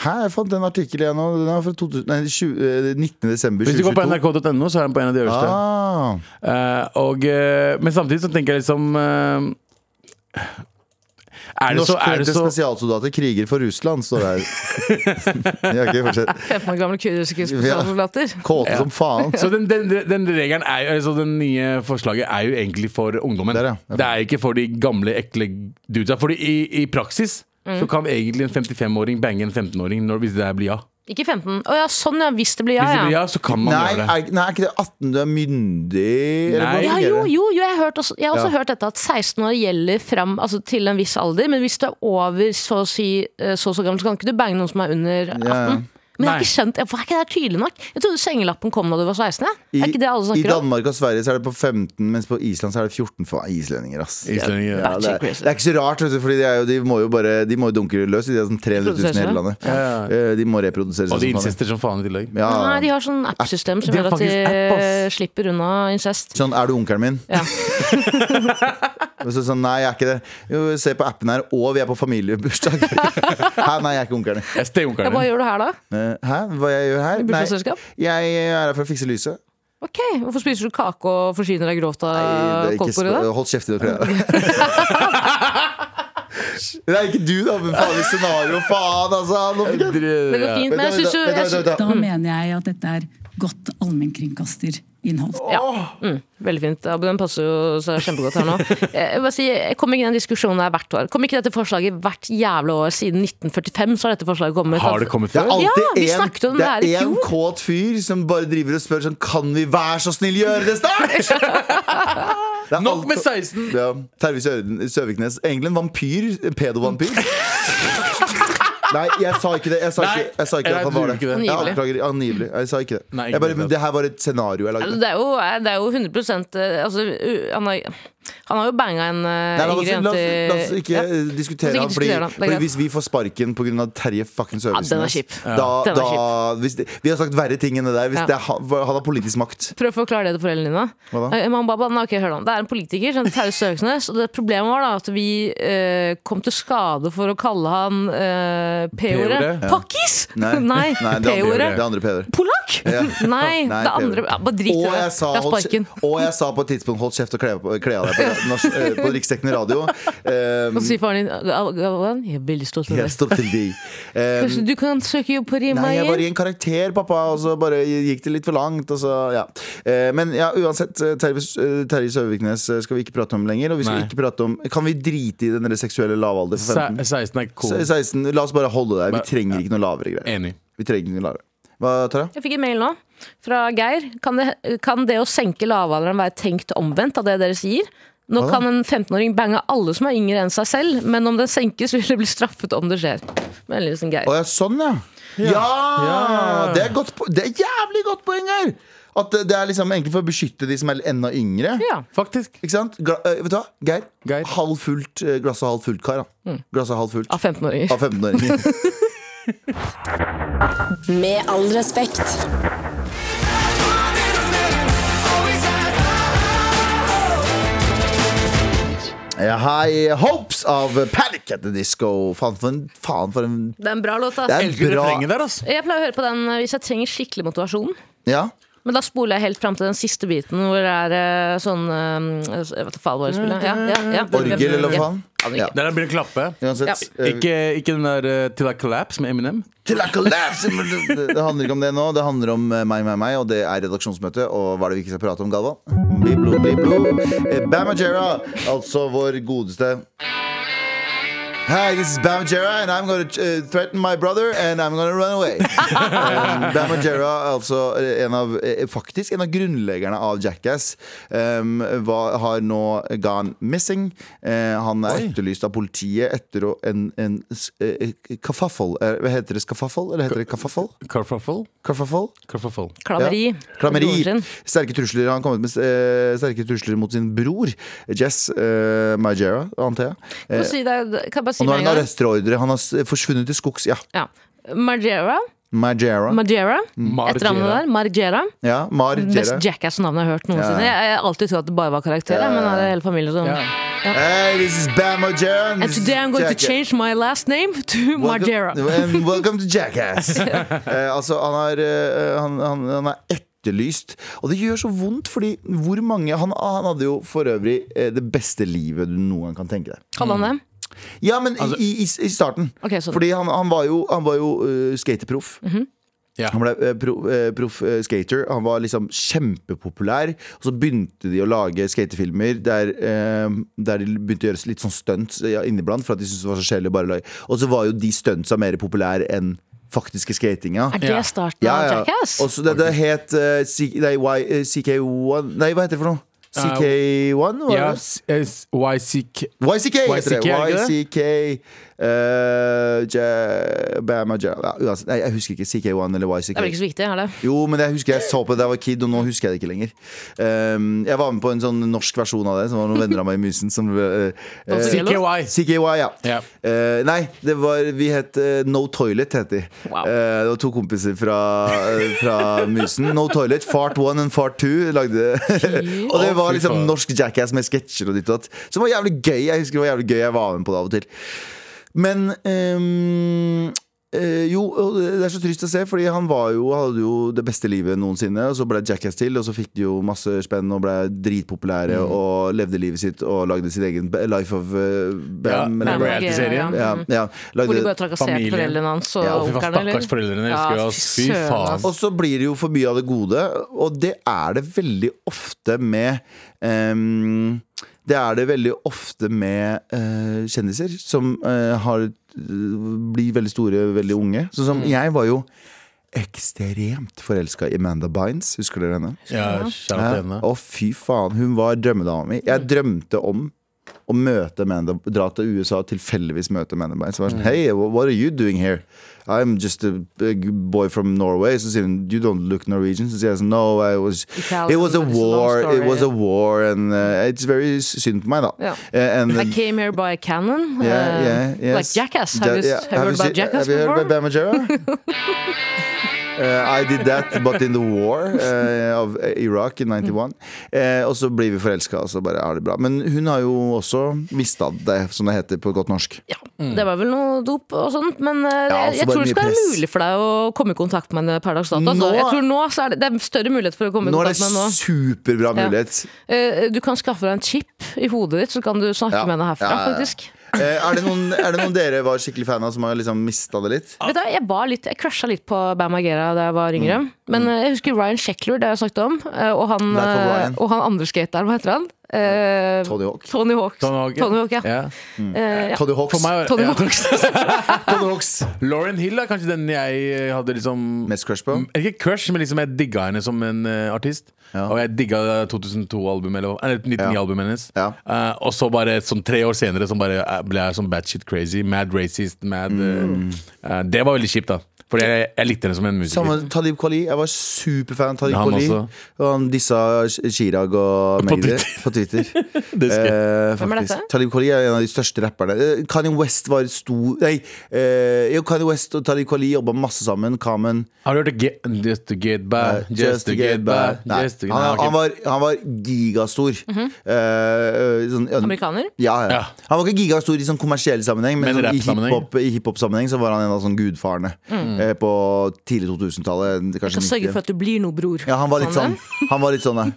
Hæ, jeg fant den artikkelen igjen nå. Den er fra 2000, nei, 20, eh, 19. desember
Hvis du går på
2022.
nrk.no, så er den på en av de øverste.
Ah,
Eh, og, eh, men samtidig så tenker jeg liksom eh, er det, så, er, det
Norsktrente
så,
spesialsoldater kriger for Russland, står det her. ja, ok, fortsett.
15 år gamle kurdiske spesialsoldater.
Kåte som faen.
så den, den, den regelen er jo altså, Den nye forslaget er jo egentlig for ungdommen.
Der, ja. Ja.
Det er ikke for de gamle, ekle dudesa. Fordi i, i praksis
Mm.
så kan egentlig en 55-åring bange en 15-åring når- hvis det der blir ja.
Ikke 15. Å ja, sånn ja, hvis det blir ja,
Hvis det blir
ja.
ja, så kan man
Nei,
gjøre det.
er, nei, er ikke det 18 du er myndig? Eller
Nei.
hvordan
Ja,
fungerer
jo,
det?
jo, jo, jeg har, hørt også, jeg har også
Ja.
hørt dette at 16 år gjelder fram altså, til en viss alder, men hvis du er over så å si eh, så og så gammel, så kan ikke du bange noen som er under 18.
Ja.
Men jeg har
Nei.
ikke skjønt, hvorfor er ikke det her tydelig nok? Jeg trodde sengelappen kom da du var 16. jeg.
I,
er ikke det alle
I
snakker om?
Danmark og Sverige så er det på 15, mens på Island så er det 14 for islendinger. ass
Islendinger, ja.
Ja, det, er, det er ikke så rart, vet du, Fordi de, er jo, de må jo bare De må jo dunke løs. De er sånn 300 000 i hele landet. Eh, De må reprodusere seg.
Og de
som faen.
insister som faen i tillegg.
Ja.
Nei, de har sånn app-system som
De har
gjør at de
faktisk app,
eh,
ass.
slipper unna incest.
Sånn, er du onkelen min?
Ja.
Og så sånn, nei, jeg er ikke det. Jo, se på appen her, og vi er på familiebursdag. Hæ, nei, jeg er ikke onkelen din.
Jeg er steonkelen
Hva
din.
gjør du her da?
Eh, Hæ, hva jeg gjør her? Nei,
Bursdagsselskap?
jeg er her for å fikse lyset.
Ok, hvorfor spiser du kake og forsyner deg grovt
Nei,
av
det er ikke
koldtbordet
sp-
da?
Hold kjeft i dere. Det er ikke du, da, men faen i scenario. Faen, altså. Nå fikk jeg
Det går fint, men jeg synes jo...
Vent da,
jeg
vent da,
synes-
vent da.
Da mener jeg at dette er godt allmennkringkasterinnhold.
Veldig fint. Abu, den passer jo seg kjempegodt her nå. Eh, Jeg vil bare si, jeg kom ikke den diskusjonen her hvert år. Kom ikke dette forslaget hvert jævla år siden 1945? Så har dette forslaget kommet.
Har det kommet
Det
før?
er alltid
Ja, vi
en-
snakket om det
det
her i
er en
fjor.
kåt fyr som bare driver og spør sånn Kan vi være så snill gjøre det snart? Det er
Nok
alt-
med 16!
ja, Terje Sø- Søviknes. Egentlig en vampyr. En pedovampyr. Nei, jeg sa ikke det. Jeg sa
Nei,
ikke, jeg sa ikke
jeg
at han var
tror
det.
ikke det.
Jeg
Angivelig.
anklager angivelig. Jeg sa ikke det.
Nei, ikke
jeg bare,
det.
men det her var et scenario jeg lagde.
Altså, Det er jo, det er jo 100 eh, altså, u- han, har, han har jo banga en eh,
Nei, la, oss,
yngre
la,
jente
oss,
i-
la oss ikke
ja.
eh,
La
diskutere han,
oss ikke
fordi,
diskutere han, det er
fordi
greit.
hvis vi får sparken pga. Terje fucking Sørensen
den er
ass,
kjip.
da,
Den er
da, hvis det, Vi har sagt verre ting enn det der. Hvis
Ja.
det er, han han har politisk makt.
Prøv å forklare det til foreldrene dine.
Hva da?
Eh, mamma og pappa, nei, ok, hør da. Det er en politiker som heter Terje Søksnes, og det problemet var da at vi eh, kom til skade for å kalle han eh, P-ordet.
P-ordet?
Pakkis! Nei,
det er andre-
P-ordet.
det er andre P-ordet.
Polakk? Nei,
Nei,
det
P-ordet.
andre ja, Bare drit i
Og
det.
jeg, sa,
La
hold,
sparken.
kje- og jeg sa på et tidspunkt 'hold kjeft og kle, på- kle av deg' på, norsk, eh, på riksdekkende radio. Eh,
Og så sier faren din "Gal- Galvan, jeg er veldig stolt av
jeg
deg.
står til de. Eh,
Kanskje du kan søke jobb på Rima
Nei, jeg var i
igjen?
en karakter, pappa, og så bare gikk det litt for langt. Og så, ja. Eh, men ja, uansett, eh, Terje, Terje Søviknes eh, skal vi ikke prate om lenger. Og vi skal
Nei.
ikke prate om Kan vi drite i den der seksuelle lavalder for 15?
Se- 16 er cool.
Se- 16, la oss bare holde det der. Vi
Bare-
trenger ikke noe lavere greier.
Enig.
Vi trenger ikke noe lavere. Hva, Tara?
Jeg fikk en mail nå fra Geir. Kan det, kan det å senke lavalderen være tenkt omvendt av det dere sier? Nå
Hva da?
kan en 15-åring bange alle som er yngre enn seg selv, men om den senkes, vil det bli straffet om det skjer. Vennlig hilsen Geir.
Å ja, sånn ja! Ja! Det, er godt, po- det er jævlig godt poeng her! At det, det er liksom egentlig for å beskytte de som er enda yngre.
Ja.
Faktisk.
Ikke sant? Gla, eh, vet du hva, Geir?
Geir.
Halvfullt eh, glass og halvfullt kar. da. Glass og halvfullt.
Mm. Av 15-åringer.
Av 15-åringer.
Med all respekt.
High Hopes av Panic at the Disco. Faen for en, faen for en
Det er en bra låt,
Det
ass.
er
Elsker
bra.
refrenget der, altså.
eh, Jeg pleier å høre på den hvis jeg trenger skikkelig motivasjon.
Ja.
Men da spoler jeg helt fram til den siste biten, hvor det er eh, sånn eh, Jeg vet ikke faen hvor jeg spiller. Ja, ja, ja.
Orgel, eller hva faen?
Aner
Ja.
ikke.
Der han begynner å klappe.
Uansett. eh,
Ikke, ikke den der eh, Till I Collapse med Eminem.
Til I collapse! Men Det, det- det handler ikke om det nå. Det handler om eh, meg, meg, meg, og det er redaksjonsmøte. Og hva er det vi ikke skal prate om, Galvan? Bli blod, bli blod. Eh, Bam Majera, altså vår godeste Hi, this is Bam Majera, and I'm gonna eh, threaten my brother, and I'm gonna run away. Um, Bam Majera, altså eh, en av, eh, faktisk en av grunnleggerne av Jackass, um, var, har nå gone missing. Eh, han er etterlyst av politiet etter å- en, en s- eh, kafaffel. Eh, Hva heter det? Skafaffel? Eller heter det kafaffel?
Carfuffle.
Kafaffel?
Carfuffle.
Klammeri.
Ja. Klammeri.
Broren sin.
Sterke trusler. Han har kommet med eh, sterke trusler mot sin bror, Jess uh, Majera, antar jeg. Eh,
Kan jeg si det- Kan jeg bare si
Og nå
med
er
en
det en
gang?
arrestordre. Han har s- forsvunnet i skogs. Ja.
Ja. Margera.
Margera.
Margera. Et eller annet
Margera.
der. Margera.
Ja,
Mest
Margera.
Jackass-navnet jeg har hørt noensinne. Jeg jeg har alltid trodd at det bare var karakterer, men nå er det hele familien som
Hey, this is Bam Margera.
And today I'm going to change my last name to Margera.
And welcome to Jackass. Eh, altså, han er, eh, han, han, han er etterlyst. Og det gjør så vondt, fordi hvor mange Han, han hadde jo for øvrig eh, det beste livet du noen gang kan tenke deg.
Kaller han det?
Ja, men i- i, i, i starten.
Ok, sånn.
Fordi han, han var jo, han var jo eh, skaterproff.
Mhm.
Ja.
Han ble eh, pro, eh, proff eh, skater. Han var liksom kjempepopulær. Og så begynte de å lage skatefilmer der, eh, der de begynte å gjøre litt sånn stunts ja, inniblant. For at de syntes det var så kjedelig å bare lage. Og så var jo de stuntsa mer populære enn faktiske skatinga.
Er det starten av Jackass?
Og så det, det het eh, C- nei, Y- eh, CK1 Nei, hva heter det for noe? CK1? var
Ja,
det?
s- eh, s- YCK.
YCK
YCK,
heter det.
er det ikke det?
YCK eh, Ja- Bama Ja- ja, uansett. Nei, jeg husker ikke CK1 eller
Det er vel ikke
YCK.
så viktig, er det?
Jo, men jeg husker jeg så på det da jeg var kid, og nå husker jeg det ikke lenger. Um, jeg var med på en sånn norsk versjon av det, som var noen venner av meg i Mysen som eh, eh,
Dolce Yellow?
CKY.
CKY, ja.
Ja.
Eh, nei, det var, vi het eh, No Toilet, het de.
Wow.
Eh, det var to kompiser fra, eh, fra Mysen. No Toilet, Fart 1 and Fart 2 lagde Og det
Å,
var
fy
liksom
faen.
norsk jackass med sketsjer og ditt og datt. Som var jævlig gøy. Jeg husker det var jævlig gøy jeg var med på det av og til. Men ehm, eh, jo, og det er så trist å se, fordi han var jo, hadde jo det beste livet noensinne. Og så ble Jackass til, og så fikk de jo masse spenn og ble dritpopulære
Mm.
og levde livet sitt og lagde sin egen b- Life of eh,
Ja,
Bam. eller-
Bam.
reality-serien.
ja, ja.
Hvor de
Lagde,
bare trakasserte
Familien.
foreldrene hans og
Ja,
fy faen,
onkelen, eller?
stakkars foreldrene, jeg husker jo, ass. Fy
søren, altså.
faen.
ass.
og så blir det jo for mye av det gode, og det er det veldig ofte med ehm, Det er det veldig ofte med eh, kjendiser som eh, har, blir veldig store veldig unge. Sånn som jeg var jo ekstremt forelska i Amanda Bynes. Husker dere henne?
Ja, shout out til
Ja.
henne.
Å, fy faen. Hun var drømmedama mi. Jeg drømte om å møte Amanda Dra til USA og tilfeldigvis møte Amanda Bynes. Så var jeg sånn, Hey, wh- what are you doing here? I'm just a big boy from Norway. Så sier hun, you don't look Norwegian. Så sier jeg sånn, no, I was
Italian,
It was a
but it's a long
war. It
story."
was a war. And uh, it's very s- synd på meg, da.
Ja.
Eh, and-
I came here by a cannon. uh,
Yeah, yeah, yes.
Like Jackass. Have
Ja-
you,
yeah.
have you heard
seen-
about Jackass
have you heard
before?
about Bam Margera? Uh, I did that, but in the war uh, of Iraq in
Mm.
91. Eh, og så blir vi forelska, og så bare er det bra. Men hun har jo også mista det, som det heter på godt norsk.
Ja, Det var vel noe dop og sånt, men eh,
Mm. Ja,
jeg,
altså
jeg
bare
tror det
mye
skal være
press.
mulig for deg å komme i kontakt med henne per dags dato. altså.
Nå-
jeg tror nå så er det, det er større mulighet for å komme i
Nå er det
kontakt med henne nå.
superbra mulighet.
Eh, Du kan skaffe deg en chip i hodet ditt, så kan du snakke
Ja.
med henne herfra,
Ja, ja, ja.
faktisk.
Eh, er, det noen, er det noen dere var skikkelig fan av, som har liksom mista det litt?
Vet du, hva, jeg var litt, jeg crusha litt på Bam Margera da jeg var yngre.
Mm.
Men eh, jeg husker Ryan Sheckler, det har jeg snakket om. eh, Og han,
Life of
eh,
Ryan.
og han andre skateren, hva heter han? Eh,
Tony Hawk.
Tony Hawk.
Tony Hawk, ja.
ja.
Ja.
Eh, ja.
Toddy Hawks.
For meg var
Tony
ja,
Hawk.
Toddy Hawks.
Lauren Hill er kanskje den jeg eh, hadde liksom
Mest crush på?
Ikke crush, men liksom jeg digga henne som en eh, artist.
Ja.
Og jeg digga 2002-albumet eller hva- eller 1999-albumet hennes.
Ja.
Eh, og så bare sånn tre år senere så bare eh, ble jeg sånn batshit crazy. Mad racist, mad eh,
Mm.
eh, Det var veldig kjipt, da. Fordi jeg, jeg likte henne som en musiker.
Samme Talib Kweli. Jeg var superfan av Talib
Han
Kweli.
også.
Og han dissa Chirag og Magdi
Twitter.
på Twitter.
Det husker jeg.
Eh,
Hvem er
faktisk.
dette?
Talib Kweli er en av de største rapperne. Eh, Kanye West var stor Nei, eh, jo, Kanye West og Talib Kweli jobba masse sammen. Kamen. Eh,
Har du hørt det? Get- Just to get by, just to get by
Nei,
just to get-
han,
Nei,
han,
ok.
var, han var gigastor. Eh, sånn, ja,
Mhm. Amerikaner?
Ja, ja.
Ja.
Han var ikke gigastor i sånn kommersiell sammenheng, men,
Men
sånn, i
rap-sammenheng.
hiphop- i hiphop-sammenheng så var han en av sånn gudfarene. eh, på tidlig 2000-tallet.
Mm. Jeg skal sørge for at du blir noe, bror.
Ja, han var litt sånn. Han var litt sånn, ja.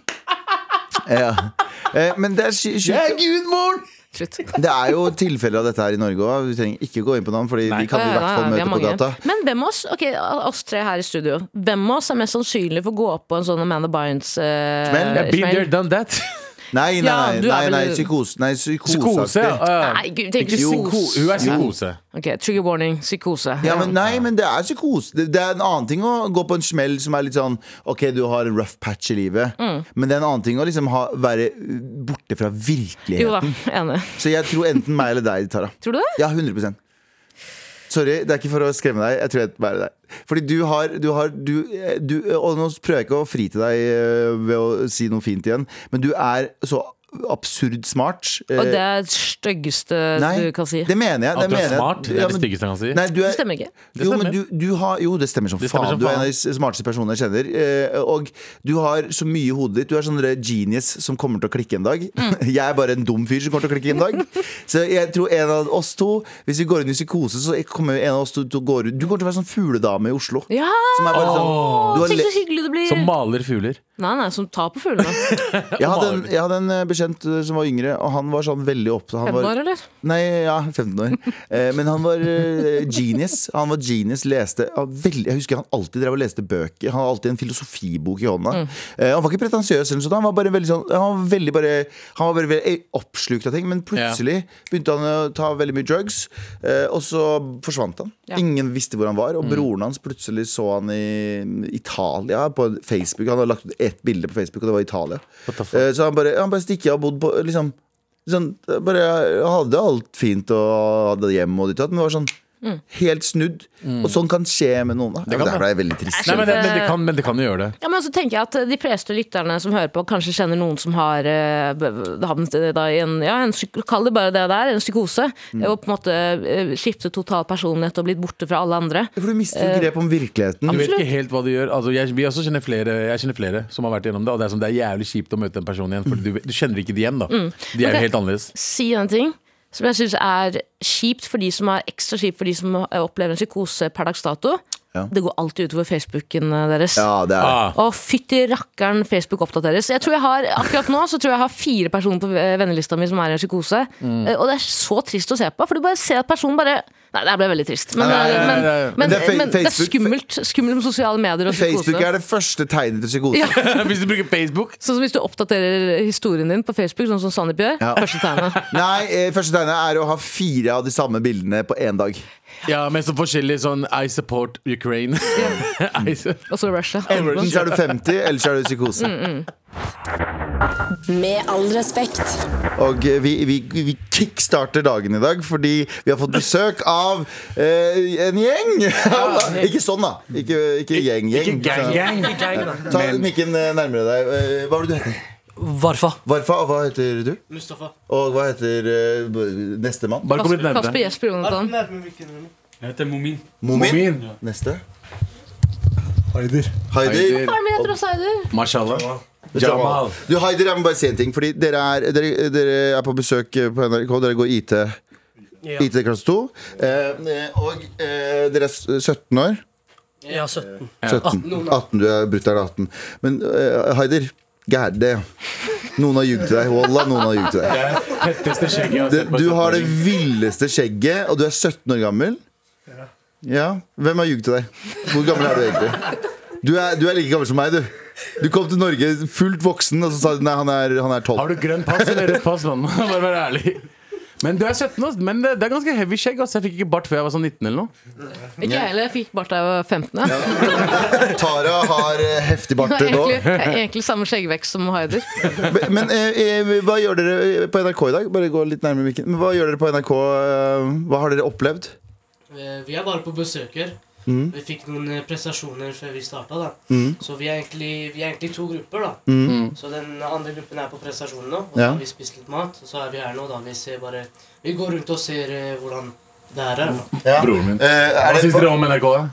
ja. Eh, Men det er sy- sykt. sånn.
Slutt.
Det er jo tilfeller av dette her i Norge òg. Vi trenger ikke gå inn på navn, Fordi vi kan i
Ja,
hvert
ja,
fall
vi er
møte på
mange.
gata.
Men hvem av oss ok, av oss tre her i studio Hvem av oss er mest sannsynlig for å gå opp på en sånn Amanda Bynes eh,
Smell? Ja,
Been there,
smell?
done that.
Nei, nei,
Ja,
nei,
du er
nei, nei
vel-
psykose. Nei, psykoseaktig.
Psykose. ja.
Nei, gud, tenk
Ikke
psykose.
psyko- Hun er psykose.
Ok, Trigger warning, psykose.
Ja, men nei, men det er psykose. Det, det er en annen ting å gå på en smell som er litt sånn OK, du har en rough patch i livet, men det er en annen ting å liksom ha, være borte fra
Mm. Jo
virkeligheten.
da, enig.
Så jeg tror enten meg eller deg, Tara.
Tror du det?
Ja, 100 Sorry, det er ikke for å skremme deg. Jeg tror jeg bare det er deg. Fordi du har, du har du, eh, du, Og nå prøver jeg ikke å fri til deg eh, ved å si noe fint igjen, men du er så absurd smart. eh,
Og det er det styggeste du kan si.
det mener jeg.
At
det
du er
mener jeg.
smart, det er
Ja,
det
men-
styggeste jeg kan si.
Nei, du er,
Det stemmer ikke.
Det
Jo,
stemmer.
men du, du har, jo, det stemmer som
Det stemmer
faen.
som
du er en av
faen.
de smarteste personene jeg kjenner. eh, Og du har så mye i hodet ditt. Du er sånn der genius som kommer til å klikke en dag.
Mm.
Jeg er bare en dum fyr som kommer til å klikke en dag. Så jeg tror en av oss to, hvis vi går inn i psykose, så kommer en av oss to til å gå ut Du kommer til å være sånn fugledame i Oslo.
Ja!
Som er bare sånn, du har
Tenk
le
så hyggelig det blir.
Som maler fugler.
Nei, nei, som tar på fuglene.
jeg, hadde en, jeg hadde en eh, bekjent eh, som var yngre, og han var sånn veldig opptatt. Han
Fem
var,
år, eller?
Nei, ja, 15 år. Eh, men han var eh, genius. Han var genius, leste han veldig, Jeg husker han alltid drev og leste bøker. Han hadde alltid en filosofibok i hånda. Eh, han var ikke pretensiøs, eller noe sånt, han var bare veldig sånn Han var veldig bare Han var bare veldig oppslukt av ting, men plutselig begynte han å ta veldig mye drugs, eh, og så forsvant han.
Ja.
Ingen visste hvor han var, og broren hans plutselig så han i Italia, på Facebook. Han hadde lagt ut ett bilde på Facebook, og det var Italia. Eh, så han bare, han bare stikker av og bodde på liksom sånn, bare, Jeg hadde alt fint og hadde hjem og ditt og datt, men det var sånn
Mm.
helt snudd. Og sånn kan skje med noen. Da.
kan
Ja, men
Mm.
der
det.
ble jeg veldig trist.
Nei, men det, men, det kan, men det kan jo gjøre det.
Ja, men så tenker jeg at De fleste lytterne som hører på, kanskje kjenner noen som har eh, be- havnet eh, da i en, ja, en psyk- Kall det bare det der, en psykose.
Mm.
Og på en måte eh, skiftet total personlighet og blitt borte fra alle andre.
For du mister jo grep om virkeligheten.
Du vet ikke helt hva du gjør. Altså, jeg, vi også kjenner flere, jeg kjenner flere som har vært gjennom det. Og det er, sånn, det er jævlig kjipt å møte den personen igjen, for du, du kjenner ikke de igjen. da De er
Ok.
jo helt annerledes.
Si en ting som jeg syns er kjipt for de som er ekstra kjipt for de som eh, opplever en psykose per dags dato.
Ja.
Det går alltid utover Facebooken eh, deres.
Ja, det er det.
Ah,
Å, fytti rakkeren Facebook oppdateres. Jeg tror jeg har, akkurat nå så tror jeg jeg har fire personer på eh, vennelista mi som er i en psykose.
Mm.
Eh, Og det er så trist å se på, for du bare ser at personen bare Nei, det her ble veldig trist. Men, eh,
Nei, nei,
nei,
men,
nei, nei.
men,
Men det er fe-
men det er
Facebook-
skummelt, skummelt med sosiale medier og psykose.
Facebook er det første tegnet til psykose.
Ja.
Hvis du bruker Facebook
Sånn som Hvis du oppdaterer historien din på Facebook, sånn som Sandeep gjør.
Ja.
Første tegnet.
Nei, eh, første tegnet er å ha fire av de samme bildene på én dag.
Ja, men så forskjellig sånn I support Ukraine. I su-
Og så Russia.
Enten så er du 50, eller så er du psykose.
Med all respekt.
Og eh, vi, vi, vi kickstarter dagen i dag fordi vi har fått besøk av eh, en gjeng. ikke sånn, da. Ikke, ikke gjeng, gjeng. Ta mikken eh, nærmere deg. Eh, Hva var det du heter?
Varfa.
Varfa, og hva heter du?
Mustafa.
Og hva heter eh, nestemann?
Bare kom litt
Kasper
nærmere.
Jesper Jonathan.
Jeg heter Momin.
Momin. Neste.
Haider.
Haider.
Hva er det med heter også Eider?
Mashallah.
Jamal. Du, Haider, jeg må bare si en ting. Fordi dere er, dere, dere er på besøk eh, på NRK. Dere går IT, IT klasse 2. Eh, eh, og eh, dere er s- 17 år.
Ja, 17.
17. 18, du er brutter'n 18. Men eh, Haider, gæren det. Noen har ljugd til deg. Wallah, noen har ljugd til deg.
Tetteste skjegget jeg har sett
Du,
på
du
en
har det
setning.
villeste skjegget, og du er 17 år gammel. Ja, Hvem har ljugd til deg? Hvor gammel er du egentlig? Du er, du er like gammel som meg, du. Du kom til Norge fullt voksen, og så sa du nei, han er, han er 12.
Har du grønn pass eller rødt pass, mann? Bare vær ærlig. Men du er 17, ass. Men det, det er ganske heavy skjegg. ass. Jeg fikk ikke bart før jeg var sånn 19 eller noe.
Ikke jeg heller. Jeg fikk bart da jeg var 15. Ja.
Tara har eh, heftig bart
Det er
nå.
egentlig, det er egentlig samme skjeggvekst som Haider.
Men, men eh, eh, hva gjør dere på NRK i dag? Bare gå litt nærmere mikken. Men Hva gjør dere på NRK? eh, Hva har dere opplevd?
Vi er bare på besøker.
Mm.
Vi fikk noen eh, prestasjoner før vi starta, da. Så vi er, egentlig, vi er egentlig to grupper, da. Så den andre gruppen er på prestasjonen nå, og så
Mm. Ja.
har vi spist litt mat. Og så er vi her nå, da. Vi ser bare Vi går rundt og ser eh, hvordan det her er. da.
Broren min. er det,
dere om NRK? da?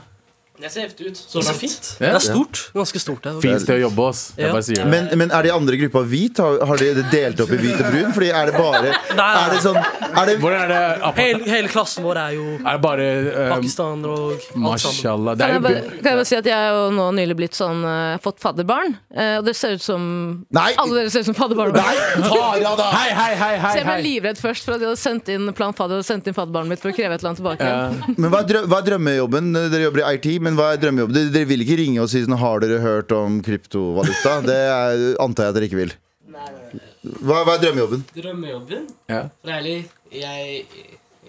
Det ser heftig ut. Så
Så
langt.
fint.
Ja.
Det er stort. Ganske stort. Det.
Fint sted å jobbe, ass. Jeg
Ja.
bare sier det.
Men, men er de andre gruppa hvit? Har, har de det delt opp i hvit og brun? Fordi er det bare
nei.
Er det sånn er det,
Hvordan er det apartheid?
Hele, hele klassen vår er jo
Er det bare eh,
pakistanere og alt sammen.
Mashallah. Det
Kan
er
jeg,
jo
bare,
bu-
kan jeg bare si at jeg er jo nå nylig blitt sånn eh, fått fadderbarn. eh, og det ser ut som
Nei!
Alle dere ser ut som fadderbarn.
Nei, Tara, da!
Hei, hei, hei! hei,
Så jeg ble
hei.
livredd først for at de hadde sendt inn Plan Fadder og sendt inn fadderbarnet mitt for å kreve et eller annet tilbake. igjen.
Men hva er, drø hva er drømmejobben? Dere jobber i IT, men hva er drømmejobben? Dere, dere vil ikke ringe og si sånn Har dere hørt om kryptovaluta? Det er, antar jeg at dere ikke vil.
Nei, nei, nei.
Hva, hva er drømmejobben?
Drømmejobben?
Ja.
For ærlig, jeg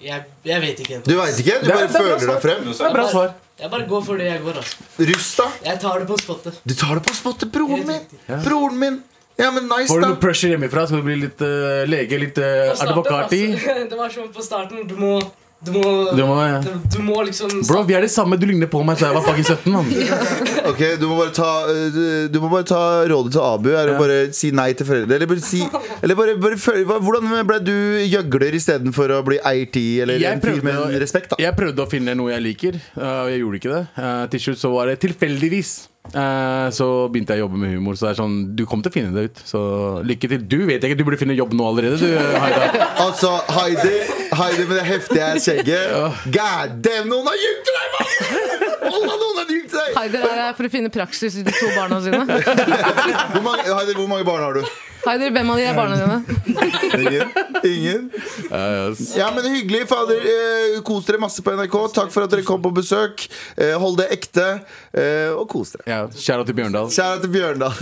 Jeg, jeg vet ikke ennå.
Du veit ikke? Du bare føler deg frem.
Det er bra svar.
Jeg bare går for det jeg går, altså.
Russ, da?
Jeg tar det på spottet.
Du tar det på spottet, broren min! Broren min! Ja, men nice,
Får du
da.
noe pressure hjemmefra, skal du bli litt eh, lege, litt eh, advokat i?
altså. Det var som på starten. Du må Du må,
Du må, ja.
du, du må liksom
Bro, vi er det samme. Du ligner på meg da jeg var fucking 17. mann.
Ok, du må, bare ta, eh, du må bare ta rådet til Abu. Er å bare si nei til foreldre. Eller bare si eller bare, bare føl- hva- Hvordan ble du gjøgler istedenfor å bli IT eller
Jeg
en fyr
prøvde
med
å-
respekt? da
Jeg prøvde å finne noe jeg liker, eh, og jeg gjorde ikke det. Eh, til slutt så var det tilfeldigvis. eh, så begynte jeg å jobbe med humor. Så det er sånn, du kommer til å finne det ut. Så lykke til. Du vet ikke, du burde finne jobb nå allerede, du. Haida.
Altså, Heidi, Heidi med det heftige skjegget. God damn, noen har ljugt til deg, mann! Wallah, noen har ljugt til deg!
Haider er her for å finne praksis i de to barna sine.
Hvor mange, Heidi, hvor mange barn har du?
Haider, hvem av de er barna dine?
Ingen? Ingen? Ja, men hyggelig, fader. Eh, kos dere masse på NRK. Takk for at dere kom på besøk. Eh, hold det ekte, eh, og kos dere.
Ja, Kjære til Bjørndal.
Kjære til Bjørndal.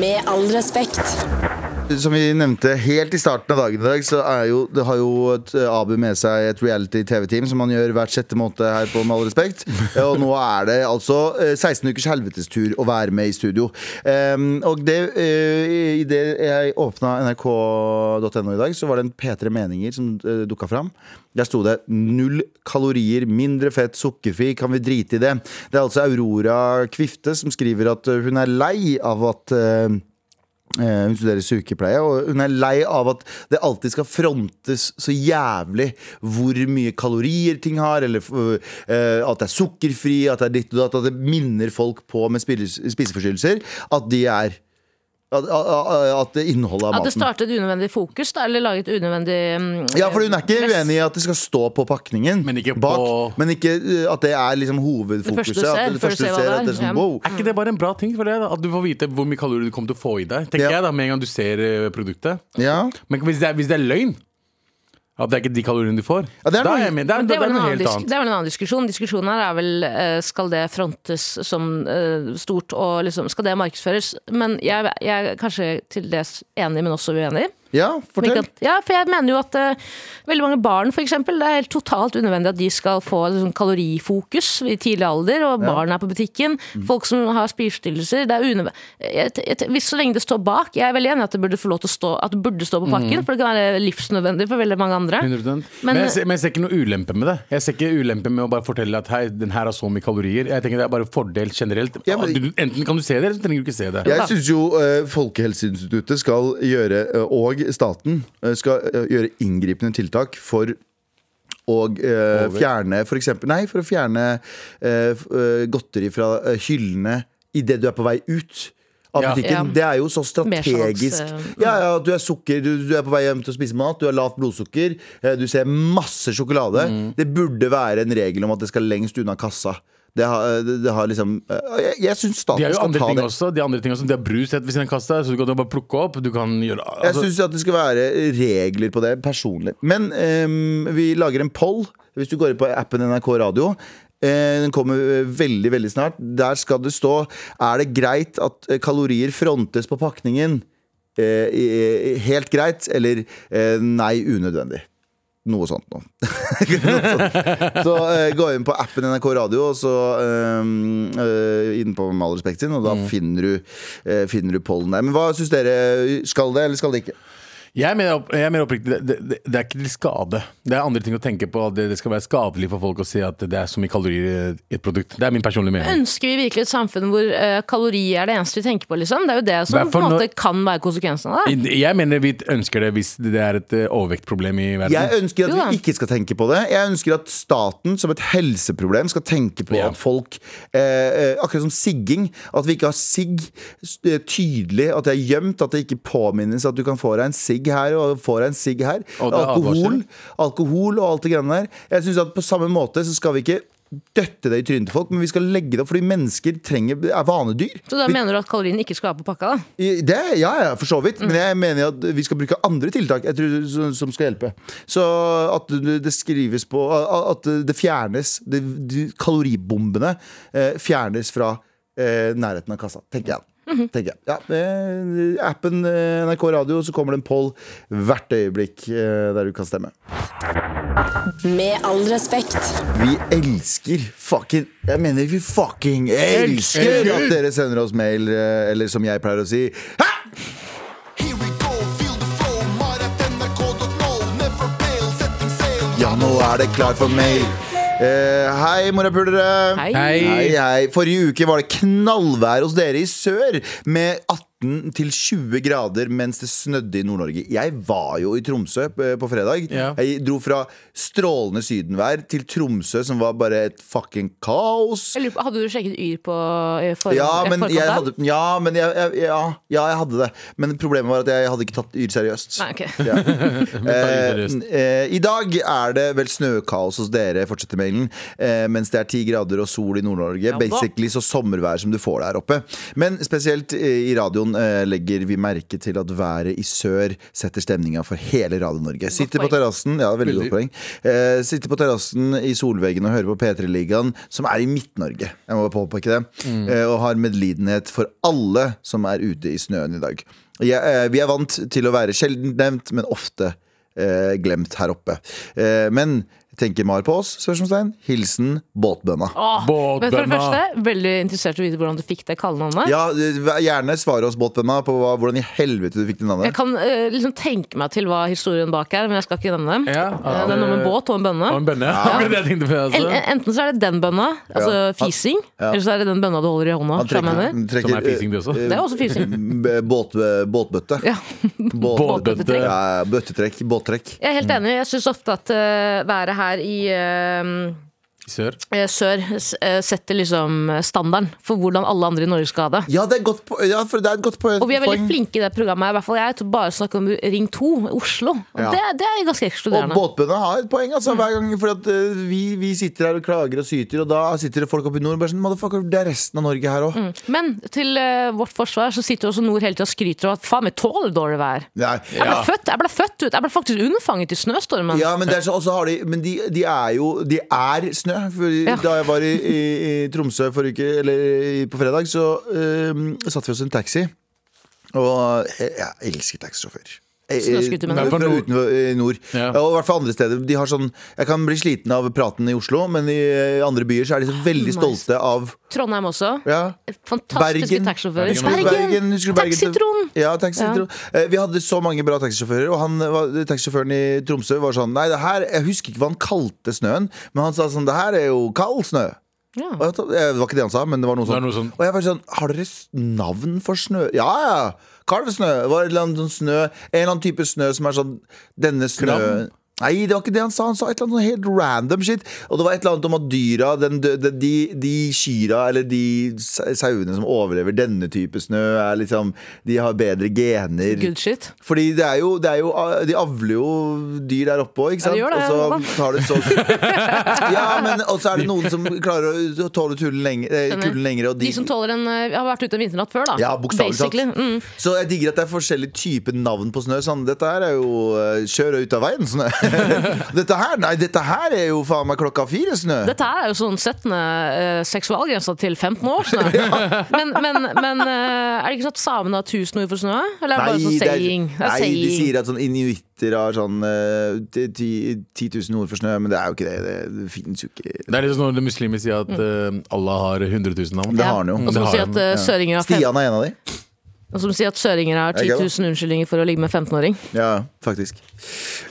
Med all respekt.
Som vi nevnte helt i starten av dagen i dag, så er jo, det har jo et, eh, Abu med seg et reality-TV-team, som han gjør hvert sjette måned her på Med all respekt. Eh, Og nå er det altså eh, 16 ukers helvetestur å være med i studio. Em, og det, eh, i det jeg åpna nrk.no i dag, så var det en P3 Meninger som uh, dukka fram. Der sto det 'null kalorier, mindre fett, sukkerfri, kan vi drite i det'? Det er altså Aurora Kvifte som skriver at eh, hun er lei av at eh, Eh, Hun studerer sykepleie, og hun er lei av at det alltid skal frontes så jævlig hvor mye kalorier ting har, eller øh, eh, at det er sukkerfri, at det er ditt og datt, at det minner folk på med spille- spiseforstyrrelser at de er at, at- at det inneholdet av
At det
maten.
startet unødvendig fokus, da, eller laget unødvendig mm,
Ja, for hun er ikke
press.
uenig i at det skal stå på pakningen,
Men ikke
bak,
på-
men ikke øh, at det er liksom
Det første du
hovedfokuset.
ser,
At det
før du
første
ser
du
hva
ser,
det
at det er
er.
sånn, wow.
Er ikke det bare en bra ting? for deg, da? At du får vite hvor mye kalorier du kommer til å få i deg. Tenker
Ja.
jeg da, med en gang du ser eh, produktet.
Ja.
Men hvis det er, hvis det er løgn, at det er ikke de kaloriene du får,
Ja, det er
da
noe-
er jeg med. Det er,
Men
det
det
er
var, en
noe
annen
helt
disk-
annet.
det var en annen diskusjon. Diskusjonen her er vel eh, skal det frontes som eh, stort, og liksom, skal det markedsføres? Men jeg, jeg er kanskje til dels enig, men også uenig.
ja,
Men ikke
fortell.
At, ja, for jeg mener jo at eh, veldig mange barn, for eksempel, det er helt totalt unødvendig at de skal få liksom, kalorifokus i tidlig alder, og barn er på butikken, folk som har spiseforstyrrelser, det er unødvendig. Jeg- jeg- Hvis så lenge det står bak, jeg er veldig enig i at det burde få lov til å stå, at det burde stå på pakken, for det kan være livsnødvendig for veldig mange andre.
100%. Men,
Men- eh,
jeg ser, men jeg ser ikke noe ulempe med det. Jeg ser ikke ulempe med å bare fortelle at hei, den her har så mye kalorier. Jeg tenker Det er bare fordel generelt.
Ja, men-
Du- Enten kan du se det, eller så trenger du ikke se det.
Jeg syns jo eh, Folkehelseinstituttet skal gjøre, eh, og staten, eh, skal eh, gjøre inngripende tiltak for å eh, fjerne for eksempel, Nei, for å fjerne eh, f- eh, godteri fra eh, hyllene idet du er på vei ut. Av
Ja.
butikken,
Ja.
Det er jo så strategisk.
sjanse, mm.
Ja, ja, at Du er sukker, du, du er på vei hjem til å spise mat, du har lavt blodsukker, eh, du ser masse sjokolade.
Mm.
Det burde være en regel om at det skal lengst unna kassa. Det har, det, det har liksom eh, Jeg, jeg syns
De
staten
har jo
skal
andre
ta
ting
det
også. De andre ting også. De har brus rett ved siden av kassa, så du kan jo bare plukke opp. Du kan gjøre
Jeg
altså,
syns at det skal være regler på det personlig. Men ehm, vi lager en poll hvis du går inn på appen NRK Radio. Eh, Den kommer eh, veldig veldig snart. Der skal det stå Er det greit at eh, kalorier frontes på pakningen. Eh, i- i- helt greit, eller eh, nei, unødvendig. Noe sånt noe. Så eh, gå inn på appen NRK Radio, og så um, inn på Med all eh, respekt sin, og da finner, du, eh, finner du pollen der. Men hva syns dere? Skal det, eller skal det ikke?
Jeg mener, opp, jeg mener oppriktig, det, det, det er ikke til skade. Det er andre ting å tenke på. at Det, det skal være skadelig for folk å si at det er så mye kalorier i et produkt. Det er min personlige mening.
Ønsker vi virkelig et samfunn hvor eh, kalori er det eneste vi tenker på? liksom? Det er jo det som
Hvertfall
på en måte
når-
kan være konsekvensen av det.
Jeg mener vi ønsker det hvis det er et eh, overvektproblem i verden.
Jeg ønsker
Jo da.
at vi ikke skal tenke på det. Jeg ønsker at staten som et helseproblem skal tenke på
Ja.
at folk eh, eh, Akkurat som sigging. At vi ikke har sigg s- eh, tydelig, at det er gjemt. At det ikke påminnes at du kan få deg en sigg her og få deg en sigg her.
Og det er
Alkohol,
advarsler.
alkohol og alt det greiene der. Jeg synes at på samme måte så skal vi ikke døtte det i trynet til folk, men vi skal legge det opp fordi mennesker trenger, er vanedyr.
Så da
Vi
mener du at kalorien ikke skal være på pakka? da?
i- Det, ja, ja, for så vidt. Men jeg mener at vi skal bruke andre tiltak jeg tror, som, som skal hjelpe. Så at du- det skrives på At det fjernes det, de, Kaloribombene eh, fjernes fra eh, nærheten av kassa, tenker jeg. Tenker jeg. Ja, eh, appen eh, NRK Radio, så kommer det en poll hvert øyeblikk eh, der du kan stemme.
Med all respekt.
Vi elsker fucking Jeg mener vi fucking elsker at dere sender oss mail, eh, eller som jeg pleier å si Hæ? Ja, nå er det klart for mail. Eh, hei, morapulere.
Hei.
Hei.
Hei, hei. Forrige uke var det knallvær hos dere i sør med 18 til 20 grader mens det snødde i Nord-Norge. Jeg var jo i Tromsø eh, på fredag.
Ja.
Jeg dro fra strålende sydenvær til Tromsø, som var bare et fucking kaos.
Jeg lurer på, Hadde du sjekket Yr på eh, forhånd?
Ja, men
forkant
jeg
der?
hadde, ja, men jeg, jeg, ja, ja, jeg hadde det. Men problemet var at jeg hadde ikke tatt Yr seriøst.
Nei, ok.
Ja.
det seriøst.
Eh, eh, I dag er det vel snøkaos hos dere, fortsetter mailen. Eh, mens det er ti grader og sol i Nord-Norge.
da.
Basically så sommervær som du får der oppe. Men spesielt eh, i radioen eh, legger vi merke til at været i sør setter stemninga for hele Radio-Norge. Sitter på
poeng.
terrassen ja, veldig godt poeng. Eh, sitter på terrassen i solveggen og hører på P3-ligaen, som er i Midt-Norge. Jeg må påpeke det. Eh, og har medlidenhet for alle som er ute i snøen i dag. Jeg, eh, vi er vant til å være sjelden nevnt, men ofte eh, glemt her oppe. Eh, men tenker Mar på oss? Spørsmålstegn. Hilsen båtbønna.
Åh, men for det
Båtbønna.
første, veldig interessert i å vite hvordan du fikk det kallenavnet.
Ja, eh, gjerne svare oss, båtbønna, på hva, hvordan i helvete du fikk det
Jeg
navnet.
kan eh, liksom tenke meg til hva historien bak er, men jeg skal ikke nevne det.
Ja,
Eh, Det er noe med båt og en bønne.
Og en bønne. Det var det jeg tenkte på, altså. jeg
En,
også.
enten så er det den bønna, altså
Ja.
fising, eller så er det den bønna du holder i hånda.
Han
skjønner jeg mener.
trekker-
Som er fising, det også.
Eh,
Det er også fising.
B- Båt, eh, båtbøtte.
Ja.
Båt-
Båtbøtte.
Ja, bøttetrekk. Båttrekk.
Jeg er helt enig. Jeg syns ofte at eh, været her i eh,
I sør.
eh, sør s- eh, setter liksom standarden for hvordan alle andre i Norge skal ha det.
Ja, det er, godt po- ja, for det er et godt po- poeng.
Og vi er veldig flinke i det programmet. her, I hvert fall jeg til å bare snakke om Ring 2, Oslo. Og
Ja.
det, det Mm. er ganske
Og
ekskluderende.
båtbøndene har et poeng. Altså, hver gang For at eh, vi, vi sitter her og klager og syter, og da sitter det folk oppe i nord og bare sånn Motherfucker, det er resten av Norge her òg.
Men til eh, vårt forsvar så sitter jo også Nord hele tida og skryter av at faen, vi tåler dårlig vær.
Nei.
Jeg ble, født, jeg ble født ut. Jeg ble faktisk unnfanget i snøstormen.
Ja, men, det er så, og så har de, men de, de er jo De er snø. For
Ja.
Da jeg var i, i, i Tromsø forrige uke, eller i- på fredag, så eh, satte vi oss i en taxi. Og jeg, jeg elsker taxisjåfør. Jeg- jeg-
Snøskuter, mener
du?
Fra utenfor eh, nord.
Ja.
Og i hvert fall andre steder. De har sånn, jeg kan bli sliten av praten i Oslo, men i eh, andre byer så er de så
Ah,
veldig stolte av
Trondheim også.
ja,
Fantastiske
Bergen.
taxisjåfører.
Husker du Bergen? Husker du Bergen?
Taxitron!
Ja, taxitron. Eh, Vi hadde så mange bra taxisjåfører, og han, var- taxisjåføren i Tromsø var sånn Nei, det her, jeg husker ikke hva han kalte snøen, men han sa sånn Det her er jo kald snø.
Ja.
Og jeg, ta- eh, det var ikke det han sa, men det var noe
Det
sånn.
er noe sånn.
Og jeg bare sånn Har dere s- navn for snø? Ja, ja. Kalvsnø. Det var et eller annet sånn snø En eller annen type snø som er sånn Denne snøen
Kram?
Nei, det var ikke det han sa. Han sa et eller annet sånn helt random shit. Og det var et eller annet om at dyra, den, dø- de, de, de kyra eller de sa- sauene som overlever denne type snø, er liksom De har bedre gener.
Good shit.
Fordi det er, jo, det er jo De avler jo dyr der oppe òg, ikke sant?
Ja, de gjør det, ja,
og så tar det så Ja, men og så er det noen som klarer å tåle kulden lenger, eh,
Skjønner.
kulden lenger og de,
De som tåler en, eh, har vært ute en vinternatt før, da.
Ja, bokstavelig talt.
Basically. Mm.
Så jeg digger at det er forskjellige typer navn på snø. Sånn, dette her er jo eh, kjøre ut av veien, snø. dette her, nei, dette her er jo faen meg klokka fire, snø.
Dette her er jo sånn settende eh, seksualgrensa til 15 år. Sånn. Men, men, men eh, er det ikke sånn at samene har 1000 ord for snø? Eller er det bare sånn
det er-
saying? Det er
nei, de
saying.
sier at sånn inuitter har sånn eh, ti- ti- 10 000 ord for snø, men det er jo ikke det. Det, det finnes jo ikke
Det er litt sånn når muslimer sier at eh, Allah har 100 000 navn.
Det har han jo.
Og så
Det
må du si
har
at
de,
eh, søringer har fem.
Stian er en av de.
Og som sier at søringer har
Jeg
10
er glad.
000 unnskyldninger for å ligge med 15-åring.
Ja, faktisk.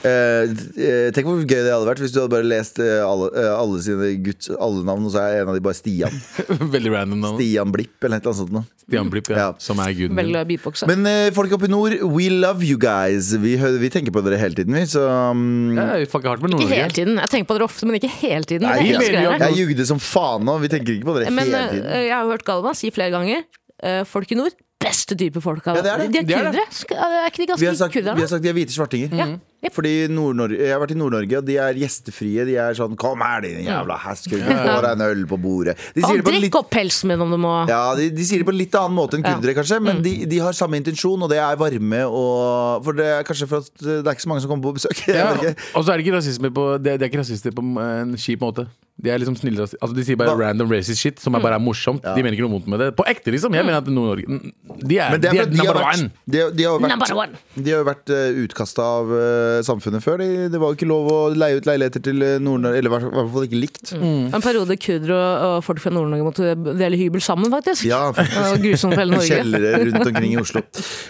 Eh, eh, tenk hvor gøy det hadde vært hvis du hadde bare lest eh, alle, eh, alle sine gutt, alle navn, og så er en av de bare Stian.
Veldig random navn.
Stian Blipp eller et eller annet sånt. noe.
Stian Blipp, ja.
Ja.
Som er guden
Veldig
min.
glad i beatboxe.
Men eh, folk oppe i nord, we love you guys. Vi, hø- vi tenker på dere hele tiden, vi. Så um,
Ja, jeg fucker hardt med
Ikke hele
Nord-Norge.
tiden. Jeg tenker på dere ofte, men ikke hele tiden.
Nei,
jeg
vi
elsker
mener jo
dere.
at-
jeg jugde som faen nå. Vi tenker ikke på dere
Men
hele
eh,
tiden.
jeg har hørt Galvan si flere ganger eh, folk i nord beste type folk. av
Ja, det er det.
De er
Det er det.
kurdere. Sk- eh, Er ikke de
Vi har
ganske
sagt, vi
kurderne?
har sagt de er hvite svartinger.
Mhm.
Jep.
Fordi Nord-Norge- Jeg har vært i Nord-Norge, og de er gjestfrie. De er sånn 'kom her, din jævla
Mhm.
hestkuk', få deg en øl på bordet. De
Faen,
sier det på en litt
Drikk opp pelsen min om du må.
Ja, de, de sier det på en litt annen måte enn kurdere, kanskje, men
Mm.
de, de har samme intensjon, og det er varme og For det er kanskje for at det er ikke så mange som kommer på besøk. Jeg
Ja.
vet ikke.
Og så er det ikke rasisme på Det, det er ikke rasister på eh, en kjip måte. De er liksom snille rasister. Altså, de sier bare
Hva? Mm.
random racist shit som er bare er morsomt. De mener ikke noe vondt med det. På ekte, liksom. Jeg mener at Nord-Norge mm, De er,
Men det
de
er
er
fordi de har
number
vært,
one.
de, de har
Number
vært,
one.
de har jo vært utkasta av eh, samfunnet før. De, det var jo ikke lov å leie ut leiligheter til eh, Nord-Norge, eller i hvert- i hvert fall ikke likt.
En periode kurdere og, og folk fra Nord-Norge måtte dele hybel sammen, faktisk.
Ja,
Det var grusomt for hele Norge.
Kjellere rundt omkring i Oslo.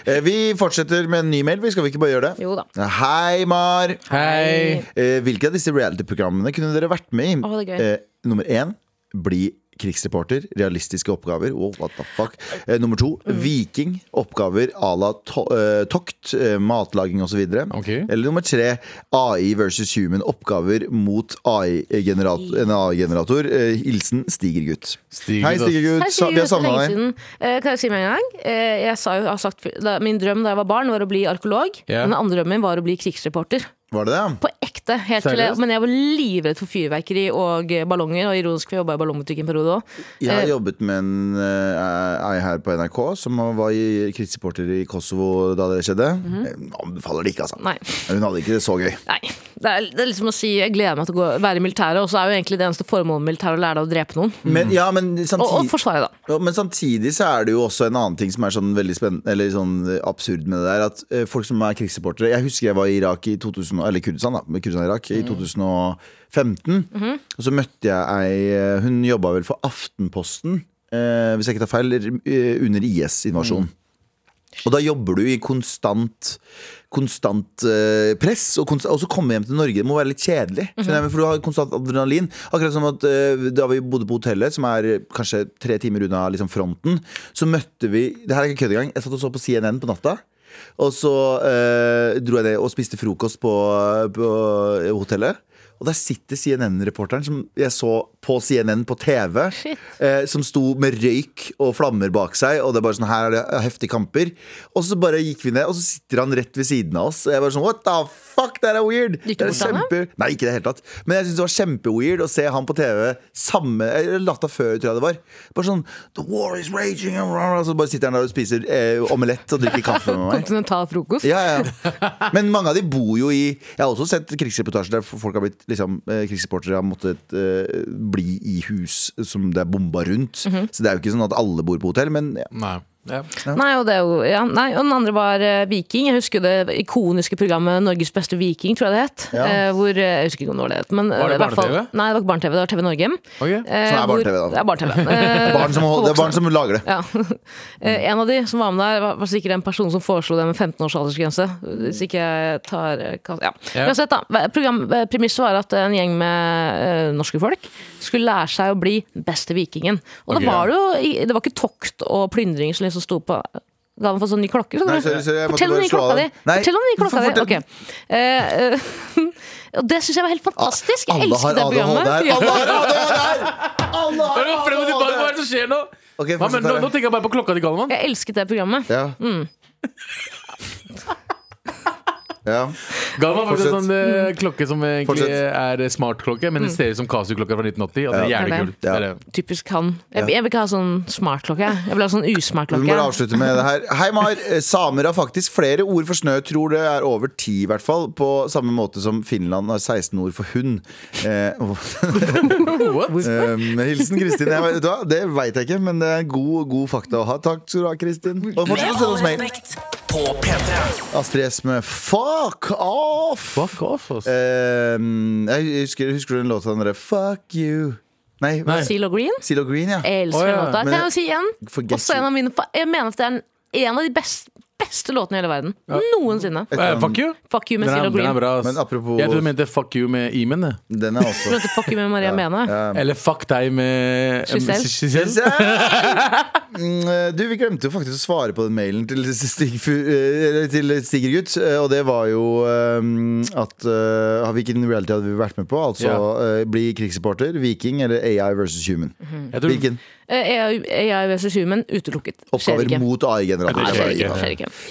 Eh, Vi fortsetter med en ny mail. Vi skal vi ikke bare gjøre det?
Jo da.
Hei, Mar.
Hei.
Eh, Hvilke av disse reality-programmene kunne dere vært med i?
Å, det er gøy.
Eh, nummer én bli krigsreporter. Realistiske oppgaver. Wow, what the fuck. Eh, nummer to
Mm.
viking. Oppgaver à la to eh, tokt, eh, matlaging osv.
Ok.
Eller nummer tre AI versus human. Oppgaver mot AI-generator. AI-generator eh, hilsen Stigergutt.
Stiger,
Hei,
da.
Stigergutt.
Hei,
Sa- Vi har
Sigurd,
savna
lenge
deg.
siden. Eh, kan jeg si med en gang? Eh, jeg sa jo, jeg har sagt, da, min drøm da jeg var barn, var å bli arkeolog.
Ja.
Men den andre drømmen min var å bli krigsreporter.
Var det det?
På ekte. Helt til jeg,
Seriøst?
men jeg var livredd for fyrverkeri og eh, ballonger. Og ironisk, for jeg jobba i ballongbutikk en periode òg.
Jeg har
Eh,
jobbet med en eh, ei her på NRK som var i- krigsreporter i Kosovo da det skjedde. Eh, Anbefaler det ikke, altså.
Mhm. Nei.
Hun hadde ikke det så gøy.
Nei. Det er, det er liksom å si jeg gleder meg til å gå, være i militæret, og så er jo egentlig det eneste formålet med militæret å lære deg å drepe noen.
Men, ja, men,
Mhm. Og, og
samtidig,
forsvare, da.
ja, men samtidig så er det jo også en annen ting som er sånn veldig spennende Eller sånn eh, absurd med det der. At eh, folk som er krigsreportere Jeg husker jeg var i Irak i 2000, og- Eller Kurdistan, da. men Kurdistan og Irak,
Mhm.
I 2015. Og så møtte jeg ei eh, Hun jobba vel for Aftenposten, eh, hvis jeg ikke tar feil, eh, under
Mhm.
IS-invasjonen. Og da jobber du i konstant, konstant eh, press, og, konst, og så komme hjem til Norge det må være litt kjedelig. skjønner jeg, men For du har konstant adrenalin. Akkurat som at eh, da vi bodde på hotellet, som er eh, kanskje tre timer unna liksom, fronten, så møtte vi Det her er ikke kødd engang. Jeg satt og så på CNN på natta. Og så eh, dro jeg ned og spiste frokost på, på hotellet. Og der sitter CNN-reporteren som jeg så på CNN på TV.
Shit.
Eh, som sto med røyk og flammer bak seg. Og det er bare sånn, her er det heftige kamper. Og så bare gikk vi ned, og så sitter han rett ved siden av oss. Og jeg bare sånn, what the fuck, det her er weird.
Gikk
Det
du
er
bort til han, da?
kjempe... Nei, ikke i det hele tatt. Men jeg synes det var kjempeweird å se han på TV samme Eller latta før, tror jeg det var. Bare sånn The war is raging. and rah, rah, Så bare sitter han der og spiser eh, omelett og drikker kaffe med meg.
Kontinental frokost.
Ja, ja. Men mange av de bor jo i Jeg har også sett krigsreportasjer der folk har blitt liksom, eh, krigsreportere har måttet eh, bli i hus som det er bomba rundt.
Mhm.
Så det er jo ikke sånn at alle bor på hotell, men ja.
Nei. Ja.
Nei, og det er jo, ja, nei, og den andre var eh, Viking. Jeg husker det ikoniske programmet Norges beste viking, tror jeg det het.
Ja.
Eh, hvor, eh, jeg husker ikke når det het. Men,
Var det
eh, i hvert fall-
barne-TV?
Nei, det var ikke barne-TV, det var TV Norge.
Ok.
Eh,
Som er barne-TV, da.
hvor- Det er barne-TV. Eh,
barn som,
for
det er barn
voksne.
som lager det.
Ja. Eh, En av de som var med der, var- var sikkert den personen som foreslo det med 15 års aldersgrense. Hvis ikke jeg tar eh, kast- ja.
Ja.
Uansett, da. Program, eh, premisset var at en gjeng med eh, norske folk skulle lære seg å bli beste vikingen. Og
Ok,
da var det jo i- Det var ikke tokt og plyndring som liksom sto på Ga han for sånn ny klokke? skjønner
Nei,
du?
sorry, sorry, jeg måtte
Fortell om den
bare
nye
slå av
klokka di!
den. Nei,
Fortell om den nye klokka
fortell
di! Ok. Eh, eh, og det syns jeg var helt fantastisk. Jeg
Alle har
elsket det
ADHD her!
programmet.
Alle har ADHD her! Alle
Hva
har
er det
ADHD!
som skjer nå?
Ok,
Hva,
fortsett
men, nå,
her.
nå tenker jeg bare på klokka til Galvan.
Jeg elsket det programmet.
Ja.
Mm.
ja.
Galvan har
Fortsett. Mm.
en sånn eh, klokke som egentlig
Fortsett. Mm.
er eh, smartklokke, men den ser ut som Casio-klokka fra 1980. Og den er
Ja.
jævlig
Ja,
kul.
det.
Det er
Ja.
det.
Typisk han. Jeg, jeg vil ikke ha sånn smartklokke. jeg. Jeg vil ha sånn
Vi må
usmartklokke.
bare avslutte med det her. Hei, Mar. Eh, Samer har faktisk flere ord for snø. Tror det er over ti, i hvert fall. På samme måte som Finland har 16 ord for hund. Eh, um, hilsen Kristin. Jeg, vet- vet du hva? Det veit jeg ikke, men det er god, god fakta å ha. Takk skal du ha, Kristin. Og fortsett
Med
å sende
all
oss mail.
respekt. På P3.
Astrid S med Fuck off!
Fuck off,
Eh,
ass.
Um, jeg husker, husker du den låta den derre Fuck you? Nei,
Nei.
Seal og Green.
Silo Green, ja.
Jeg elsker
Å, ja.
den låta.
Men-
Kan jeg si en?
Forget
Eh, Også en
you.
av mine fa- Jeg mener at det er den en av de best, beste låtene i hele verden. Noensinne.
Eh, fuck you!
Fuck you med
Den er,
Zero
den
Green.
er bra. ass.
Men apropos-
Jeg trodde du mente fuck you med Imen. jeg.
Den er
Du
også
mente fuck you med Maria Mene?
Eller fuck deg med
Giselle.
Giselle.
Mm, Du, vi glemte jo faktisk å svare på den mailen til Stig, Fu- eh, til Stigergutt. eh, Og det var jo eh, at eh, hvilken reality hadde vi vært med på? Altså eh, bli krigssupporter, viking eller AI versus human.
Mhm.
Jeg tror-
Hvilken
Eh, AI AI versus Human utelukket. Skjer
oppgaver
ikke.
mot
Nei,
AI-generatoren? Jeg
skjer ikke.
ville
Skjer ikke.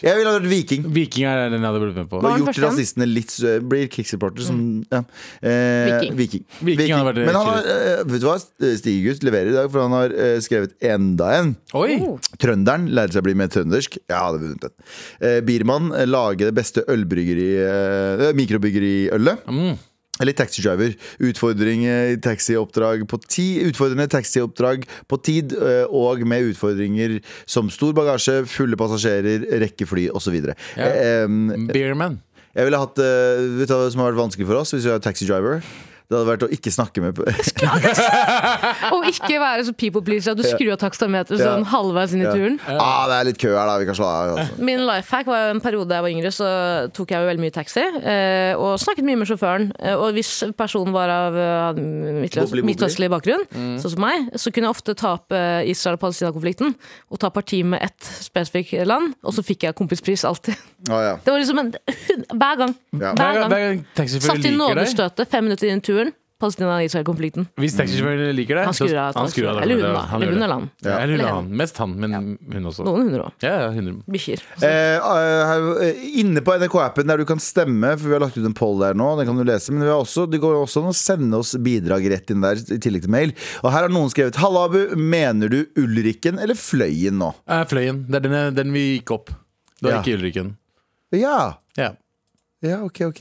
ha vært viking.
Viking er den jeg hadde blitt med på.
Og
den
gjort
første igjen? Mm.
rasistene litt sø- Blir krigssupporter som ja. eh,
Viking.
Viking.
Viking hadde vært
Men han har, eh, vet du hva? Stigegutt leverer i dag, for han har eh, skrevet enda en.
Oi!
Oh.
Trønderen lærer seg å bli mer trøndersk. Jeg hadde vunnet den. Eh, Biermann eh, lager det beste ølbryggeri eh, mikrobryggeriølet. Eller taxi driver. Utfordring eh, i taxioppdrag på ti Utfordrende taxioppdrag på tid, eh, og med utfordringer som stor bagasje, fulle passasjerer, rekke fly osv.
Ja. Beerman.
Eh, Jeg ville hatt eh, Vet du hva som har vært vanskelig for oss hvis vi var taxi driver? Det hadde vært å ikke snakke med
Og ikke være så people pleaser at du skrur av takstameteret
Ja.
sånn halvveis inn i turen.
ah, Det er litt kø her, da. Vi kan slå av. Altså.
Min life hack var jo en periode da jeg var yngre, så tok jeg jo veldig mye taxi. eh, Og snakket mye med sjåføren. Eh, Og hvis personen var av eh, midtøst-
Bobli, bobli.
midtøstlig bakgrunn,
Mm.
sånn som meg, så kunne jeg ofte ta opp eh, Israel-Palestina-konflikten og ta parti med ett spesifikt land, og så fikk jeg kompispris alltid.
Ah, ja.
Det var liksom en, Hver gang.
Ja.
Hver
Hver
gang, hver
gang.
gang taxisjåføren
Satt i
liker deg
nådestøtet fem minutter inn i turen. Palestina-Israel-konflikten.
Hvis taxisjåføren liker deg,
Han skrur av.
han skrur av
Eller hun,
det.
da.
Han
Eller
gjør
hun
det.
eller han.
Ja. Eller hun
Eller
eller
han.
han. Mest han, men hun også.
Noen hundre òg.
Ja, ja, 100.
Bikkjer.
Eh, eh, her- inne på NRK-appen der du kan stemme, for vi har lagt ut en poll der nå. Den kan du lese, men vi har også, det går også an å sende oss bidrag rett inn der, i tillegg til mail. Og her har noen skrevet Halla, Abu. Mener du Ulrikken eller Fløyen nå?
Eh, fløyen. Det er den, jeg- den vi gikk opp. Det var
Ja.
ikke Ulriken.
Ja.
Ja.
Ja, ok, ok.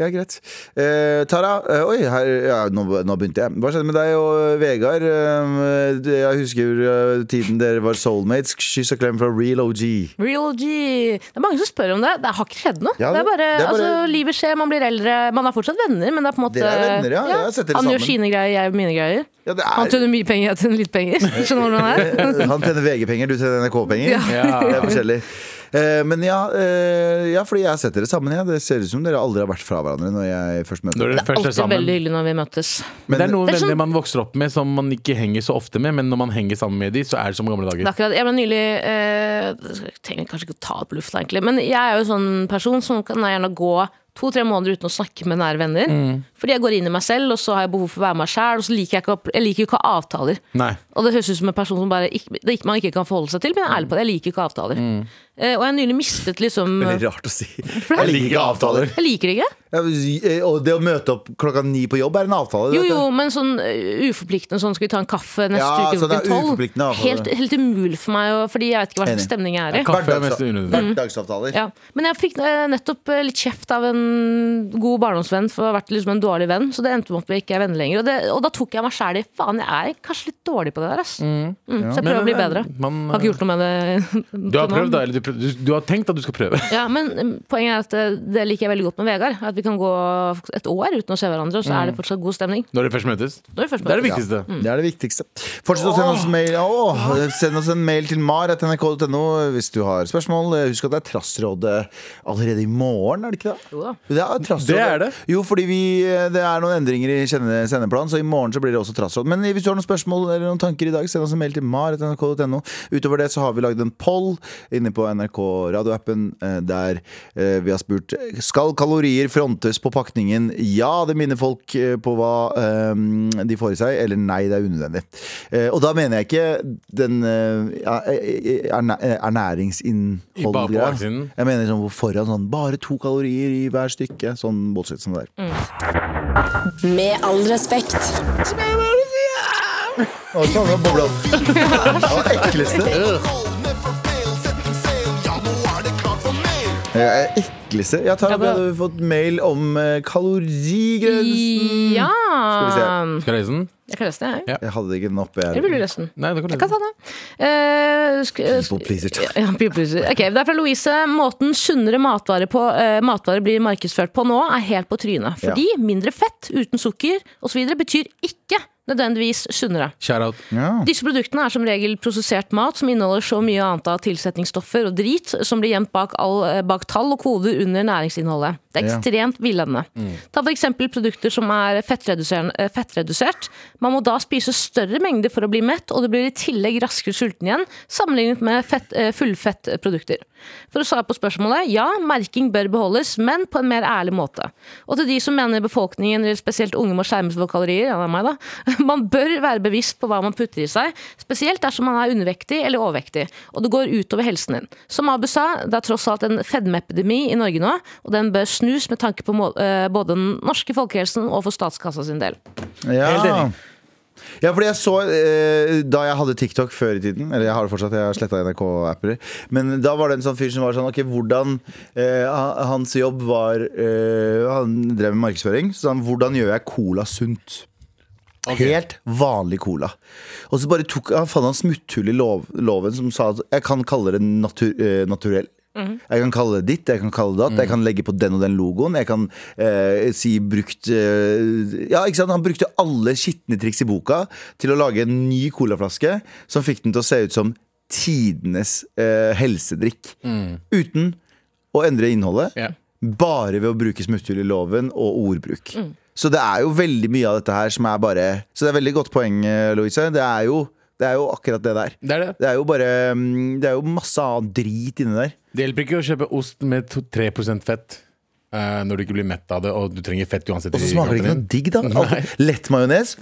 Ja, greit. Eh, Tara, eh, oi, her, ja, nå, nå begynte jeg. Hva skjedde med deg og eh, Vegard? Eh, det- jeg husker eh, tiden dere var soulmates. Kyss og klem fra real OG.
Real G. Det er mange som spør om det. Det har ikke skjedd noe.
Ja,
det, er bare,
det er bare-
Altså, Livet skjer, man blir eldre. Man er fortsatt venner, men det er på en måte
Dere er venner, ja. Jeg har sett dere
Han gjør
sammen.
sine greier, jeg gjør mine greier.
Ja, det
Han
er,
tjener mye penger, jeg tjener litt penger. Skjønner du hvordan det er?
Eh, han tjener VG-penger, du tjener NRK-penger.
Ja.
Det er
Ja.
forskjellig. Eh, men ja, eh, ja, fordi jeg har sett dere sammen. Ja. Det ser ut som dere aldri har vært fra hverandre når jeg først møter
Når
dere.
dere først er
Alltid
sammen.
veldig hyggelig når vi møtes.
Men det er noen
Det er sånn-
venner man vokser opp med som man ikke henger så ofte med, men når man henger sammen med de, så er det som gamle
Det
dager.
er akkurat, jeg ble nylig eh, Jeg trenger kanskje ikke å ta det på lufta, egentlig. Men jeg er jo en sånn person som kan gjerne gå to-tre måneder uten å snakke med nære venner.
Mm.
Fordi jeg går inn i meg selv, og så har jeg behov for å være meg sjæl. Og så liker jeg ikke, å- jeg liker jo ikke å ha avtaler.
Nei.
Og det høres ut som en person som bare ikke, det ikke, man ikke kan forholde seg til, men jeg er ærlig på det. Jeg liker ikke avtaler. Eh, og jeg har nylig mistet liksom
Mm. Veldig
Jeg
rart å si. Jeg liker ikke avtaler.
liker det ikke.
Ja, eh, Og det å møte opp klokka ni på jobb er en avtale.
Jo,
vet du.
jo, men sånn eh, uforpliktende sånn skal vi ta en kaffe neste
Ja,
uke
så det er
klokken tolv.
uforpliktende avtaler.
Helt, helt umulig for meg, og, fordi jeg vet ikke hva
Enig.
slags stemning jeg er i.
Ja, Kaffe er mest
Hverdags-
unødvendig.
Hverdagsavtaler.
Ja. Men jeg fikk eh, nettopp eh, litt kjeft av en god barndomsvenn for å ha vært liksom en dårlig venn, så det endte med at vi ikke er venner lenger. Og, det, og da tok jeg meg sjæl i faen, jeg er kanskje litt dårlig på det der, ass. Mm. Så jeg prøver å bli bedre.
Man,
Har ikke gjort noe med det.
du har
til nå.
prøvd, da? Eller du, prøv- du, du har tenkt at du skal prøve?
Ja, men um, poenget er at eh, det liker jeg veldig godt med Vegard. At vi kan gå et år uten å se hverandre, og så er det fortsatt god stemning.
Når dere først møtes?
Når vi først
Det er det
møtes.
viktigste.
Det er det viktigste. Fortsett å sende oss mail Åh, Send oss en mail til mar.nrk.no hvis du har spørsmål. Eh, Husk at det er Trassrådet allerede i morgen, er det ikke det?
Jo da.
Det er, trassråd.
Det er det.
Jo, fordi vi, eh, det er noen endringer i kjenne- sendeplanen, så i morgen så blir det også trassråd. Men hvis du har noen spørsmål eller noen tanker i dag, send oss en mail til mar.nrk.no. Utover det så har vi lagd en poll inne på NRK radioappen eh, der eh, vi har spurt Skal kalorier frontes på pakningen. Ja, det minner folk eh, på hva eh, de får i seg, eller nei, det er unødvendig. Eh, Og da mener jeg ikke den eh, erne-
I bare på
ernæringsinnholdet.
baksiden.
Jeg mener sånn foran sånn bare to kalorier i hver stykke. Sånn bullshit som det der.
Med all respekt.
Å, faen, det var bobla opp. Det var det ekleste. Jeg er ekleste. Jeg
Ja,
tar opp,
bra.
jeg hadde fått mail om eh, kalorigrensen.
Ja
Skal
Skal jeg lese den?
Jeg kan lese den, jeg.
Ja.
Jeg hadde ikke den oppe.
Eller vil du
Jeg.
lese den?
Nei, du kan lese
Jeg kan
den.
ta den. Eh, sk- eh,
People pleaser,
sk-
takk.
ja, people pleaser. Ok, Det er fra Louise. Måten sunnere matvarer, på, eh, matvarer blir markedsført på nå, er helt på trynet. Fordi mindre fett uten sukker osv. betyr ikke nødvendigvis sunnere.
Shout-out.
Ja.
Disse produktene er som regel prosessert mat som inneholder så mye annet av tilsetningsstoffer og drit som blir gjemt bak, all, eh, bak tall og koder under næringsinnholdet. Det er
Ja. Mm.
ekstremt villedende. Ta f.eks. produkter som er fettreduserende- eh, fettredusert. Man må da spise større mengder for å bli mett, og du blir i tillegg raskere sulten igjen sammenlignet med fett, eh, fullfettprodukter. For å svare på spørsmålet, ja, merking bør beholdes, men på en mer ærlig måte. Og til de som mener befolkningen, eller spesielt unge, må skjermes for kalorier, ja, det er meg da, man bør være bevisst på hva man putter i seg, spesielt dersom man er undervektig eller overvektig, og det går utover helsen din. Som Abu sa, det er tross alt en fedmeepidemi i Norge nå, og den bør snus med tanke på må- eh, både den norske folkehelsen og for statskassa sin del.
Helt
Ja.
enig.
ja, fordi jeg så eh, Da jeg hadde TikTok før i tiden Eller jeg har det fortsatt, jeg har slettet NRK-apper Men da var det en sånn fyr som var sånn Ok, hvordan eh, ha- Hans jobb var eh, Han drev med markedsføring Så han, hvordan gjør jeg cola sunt? Helt vanlig cola Og så bare tok han fant han smutthull i lov, loven Som sa at jeg kan kalle det natur, eh, naturell Jeg kan kalle det ditt, jeg kan kalle det datt Jeg kan legge på den og den logoen Jeg kan eh, si brukt eh, Ja, ikke sant? Han brukte alle skittende triks i boka Til å lage en ny colaflaske Som fikk den til å se ut som Tidenes eh, helsedrikk Uten å endre innholdet
Ja.
bare ved å bruke smutthull i loven og ordbruk. Så det er jo veldig mye av dette her som er bare Så det er veldig godt poeng, eh, Louise. Det er jo, det er jo akkurat det der.
Det er det.
Det er jo bare mm, Det er jo masse annen drit inni der.
Det hjelper ikke å kjøpe ost med to- 3 fett eh, når du ikke blir mett av det, og du trenger fett uansett.
Og så smaker det ikke noe digg, da.
Nei.
Alt- Lett majones.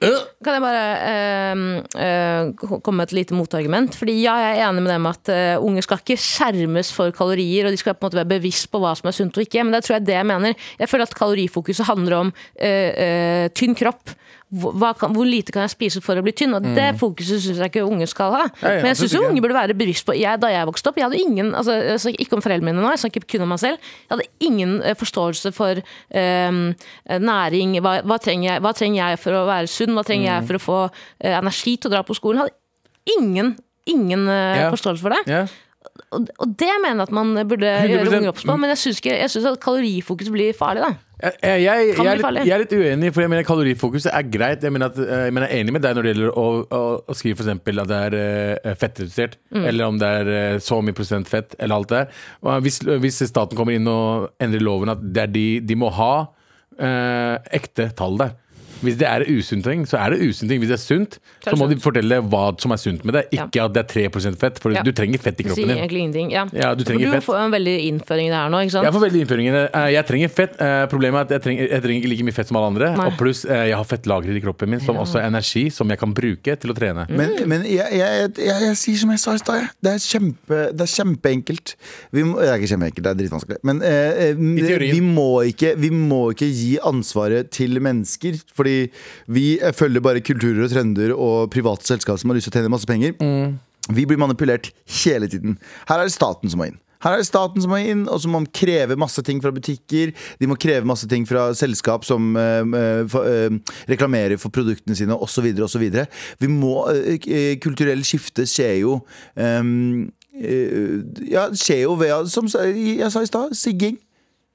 Øh!
Kan jeg bare eh, eh, komme med et lite motargument? Fordi ja, jeg er enig med dem at eh, unge skal ikke skjermes for kalorier, og de skal på en måte være bevisst på hva som er sunt og ikke, men det tror jeg er det jeg mener. Jeg føler at kalorifokuset handler om eh, eh, tynn kropp. Hvor, hva kan, hvor lite kan jeg spise for å bli tynn? Og Det fokuset syns jeg ikke unge skal ha.
Mm. Ja, ja,
Men jeg syns
absolutt ikke.
unge burde være bevisst på jeg, Da jeg vokste opp, jeg hadde ingen altså, jeg snakker Ikke om foreldrene mine nå, jeg snakker kun om meg selv. Jeg hadde ingen eh, forståelse for ehm, næring. Hva, hva, trenger jeg, hva trenger jeg for å være sunn? Hva trenger
Mm.
jeg for å få eh, energi til å dra på skolen? Jeg hadde ingen, ingen eh,
Ja.
forståelse for det.
Ja.
Og, og det mener jeg at man burde
100%
gjøre unger obs på, men jeg syns ikke- jeg syns at kalorifokus blir farlig, da.
Jeg, jeg, jeg,
Kan
er
bli
litt,
farlig.
jeg er litt uenig, for jeg mener kalorifokuset er greit. Jeg mener, at, eh, jeg mener jeg er enig med deg når det gjelder å, å, å skrive for eksempel at det er eh, fettredusert, eller om det er eh, så mye prosent fett, eller alt det der. Og Hvis, hvis staten kommer inn og endrer loven at det er de, de må ha eh, ekte tall der. Hvis det er usunn ting, så er det usunn ting. Hvis det er sunt, så må de fortelle hva som er sunt med det. Ikke at det er 3 fett, for
Ja.
du trenger fett i
Det sier
kroppen din.
egentlig ingenting. Ja.
Ja, du
For
trenger fett.
får jo en veldig innføring i det her nå, ikke sant?
Jeg får veldig innføringen. Eh, Jeg trenger fett. Eh, Problemet er at jeg trenger, jeg trenger ikke like mye fett som alle andre.
Nei.
Og pluss eh, jeg har fettlagre i kroppen min, som også er energi som jeg kan bruke til å trene.
Mm.
Men, men jeg, jeg, jeg, jeg, jeg sier som jeg sa i stad. jeg. Det, er kjempe, det er kjempeenkelt. Vi må, det er ikke kjempeenkelt, det er dritvanskelig. Men eh, eh,
teorien.
vi, må ikke, vi må ikke gi ansvaret til mennesker. Fordi vi eh, følger bare kulturer og trender og private selskap som har lyst til å tjene masse penger. Vi blir manipulert hele tiden. Her er det staten som må inn. Her er det staten som må inn, og som må kreve masse ting fra butikker. De må kreve masse ting fra selskap som eh, eh, for, eh, reklamerer for produktene sine, osv. osv. Vi må eh, eh, Kulturell skifte skjer jo ehm, eh, Ja, skjer jo ved Som jeg sa i stad, sigging.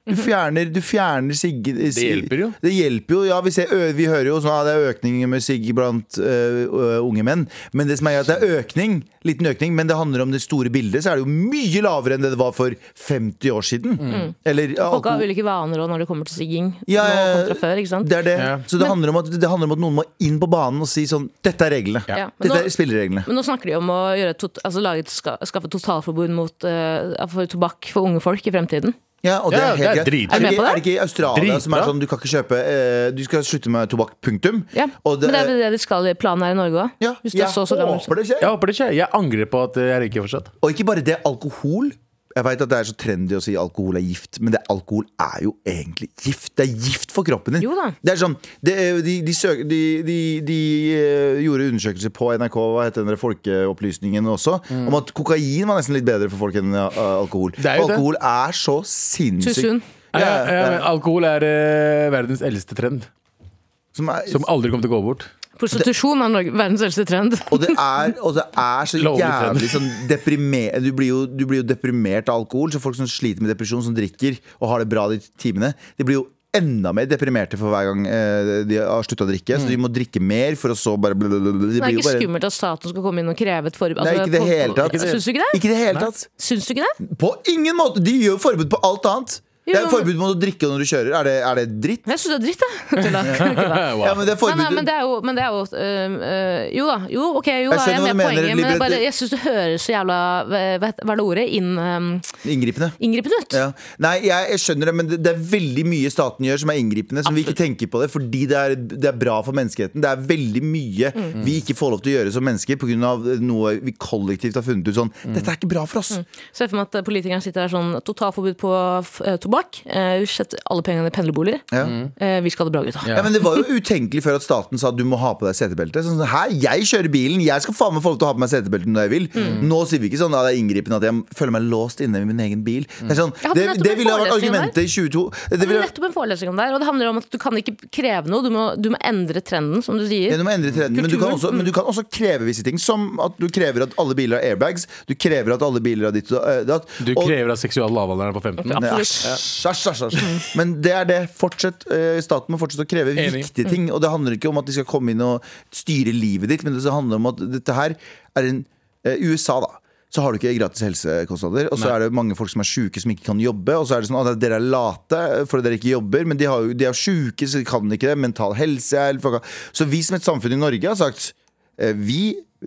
Du fjerner, du fjerner sigge, Det
hjelper jo.
Det hjelper jo, ja Vi, ser, ø- vi hører jo sånn at det er økning med sigg blant ø, ø, unge menn. Men det som er at det er økning, liten økning, men det handler om det store bildet, så er det jo mye lavere enn det det var for 50 år siden. Eller ja,
Mm. Folk har
alkohol-
ulike vaner også når det kommer til sigging.
Ja,
nå
ja, ja.
kontra før, ikke sant?
det er det.
Ja.
Så det handler, om at, det handler om at noen må inn på banen og si sånn Dette er reglene.
Ja, men
Dette
nå-
er spillereglene.
Men nå snakker de om å gjøre tot, altså lage et ska, skaffe totalforbud mot eh, for tobakk for unge folk i fremtiden.
Ja, og det
Ja,
er helt
det er
greit.
dritbra.
Er du med
ikke,
på det?
er det ikke i Australia som er
Dritbra.
sånn du kan ikke kjøpe eh, Du skal slutte med tobakk, punktum?
Ja.
Og det-
Men det er vel det de skal i planen her i Norge òg?
Ja,
Hvis du
jeg
er så, så gammel.
håper det skjer.
Jeg håper det skjer. Jeg angrer på at jeg røyker fortsatt.
Og ikke bare det, alkohol Jeg vet at det er så trendy å si alkohol er gift Men det, alkohol er jo egentlig gift Det er gift for kroppen din
Jo da.
Det er sånn, det, er- de, de, søk, de, de, de eh, gjorde undersøkelser på NRK Hva heter den der folkeopplysningen også
Mm.
Om at kokain var nesten litt bedre for folk enn eh, alkohol
Det er jo det.
Alkohol er så
Too soon.
sinnssykt
Ja, ja, Eh, men alkohol er eh, verdens eldste trend,
Som er,
som aldri kommer til å gå bort.
Prostitusjon er Norge, verdens eldste trend.
og, det er, og det er så
Lovlig trend.
jævlig sånn deprimer, du, blir jo, du blir jo deprimert av alkohol Så folk som sliter med depresjon, som drikker Og har det bra de timene De blir jo enda mer deprimerte for hver gang eh, de har slutta å drikke. Så de må drikke mer for å så bare blablabla.
Det er
blir jo
ikke
bare-
skummelt at staten skal komme inn og kreve et forbud.
Nei, ikke i det hele tatt.
Syns du ikke det?
Ikke i det hele tatt.
Syns du ikke det?
På ingen måte! De gjør jo forbud på alt annet. Det er
Jo.
forbud mot å drikke når du kjører. Er det, er det dritt?
Jeg syns det er dritt, jeg. Tulla.
Ja, men det er forbud
Nei, nei, men det er jo, men det er jo øhm, øh, Jo da, jo, ok, jo
Jeg
da, jeg er
skjønner
med
hva du mener,
poenget, men jeg, bare,
liberati-
jeg syns det høres så jævla Hva hva heter- hva er det ordet? Inn, øhm,
Inngripende.
inngripende ut.
Ja. Nei, jeg, jeg skjønner det, men det, det er veldig mye staten gjør som er inngripende. Som vi ikke tenker på det, fordi det er, det er bra for menneskeheten. Det er veldig mye vi ikke får lov til å gjøre som mennesker pga. noe vi kollektivt har funnet ut sånn Dette er ikke bra for oss.
Ser for meg at politikerne sitter her sånn Totalforbud på f eh, tobakk. Eh, vi setter alle pengene i pendlerboliger.
Ja.
Eh, vi skal ha det bra, gutta.
Ja, men Det var jo utenkelig før at staten sa at du må ha på deg setebelte. Sånn, sånn, Hæ, jeg kjører bilen, jeg skal faen meg få lov til å ha på meg setebelte når jeg vil. Nå sier vi ikke sånn at det er inngripende at jeg føler meg låst inne i min egen bil. Det, er sånn,
Jeg hadde
det,
nettopp
det
en
ville ha vært
forelesning
argumentet i 22. Det
Det er
ville,
nettopp en forelesning om det her, og det handler om at du kan ikke kreve noe. Du må, du må endre trenden, som du sier.
Ja, du må endre trenden, men du, kan
Kulturen,
også, men du kan også kreve visse ting. Som at du krever at alle biler har airbags. Du krever at alle biler har ditt og eh, datt.
Du
og-
krever at seksual lavalder er på 15?
Nei,
Absolutt.
æsj, æsj, æsj, æsj, æsj. Men det er det. Fortsett, eh, staten må fortsette å kreve
Enig.
viktige ting. Og det handler ikke om at de skal komme inn og styre livet ditt, men det handler om at dette her er en eh, USA, da. Så har du ikke gratis helsekostnader, og så er det mange folk som er sjuke som ikke kan jobbe. Og så er det sånn at dere er late fordi dere ikke jobber, men de, har, jo- de er sjuke, så de kan ikke det. Mental helse er fucka. Så vi som et samfunn i Norge har sagt eh, vi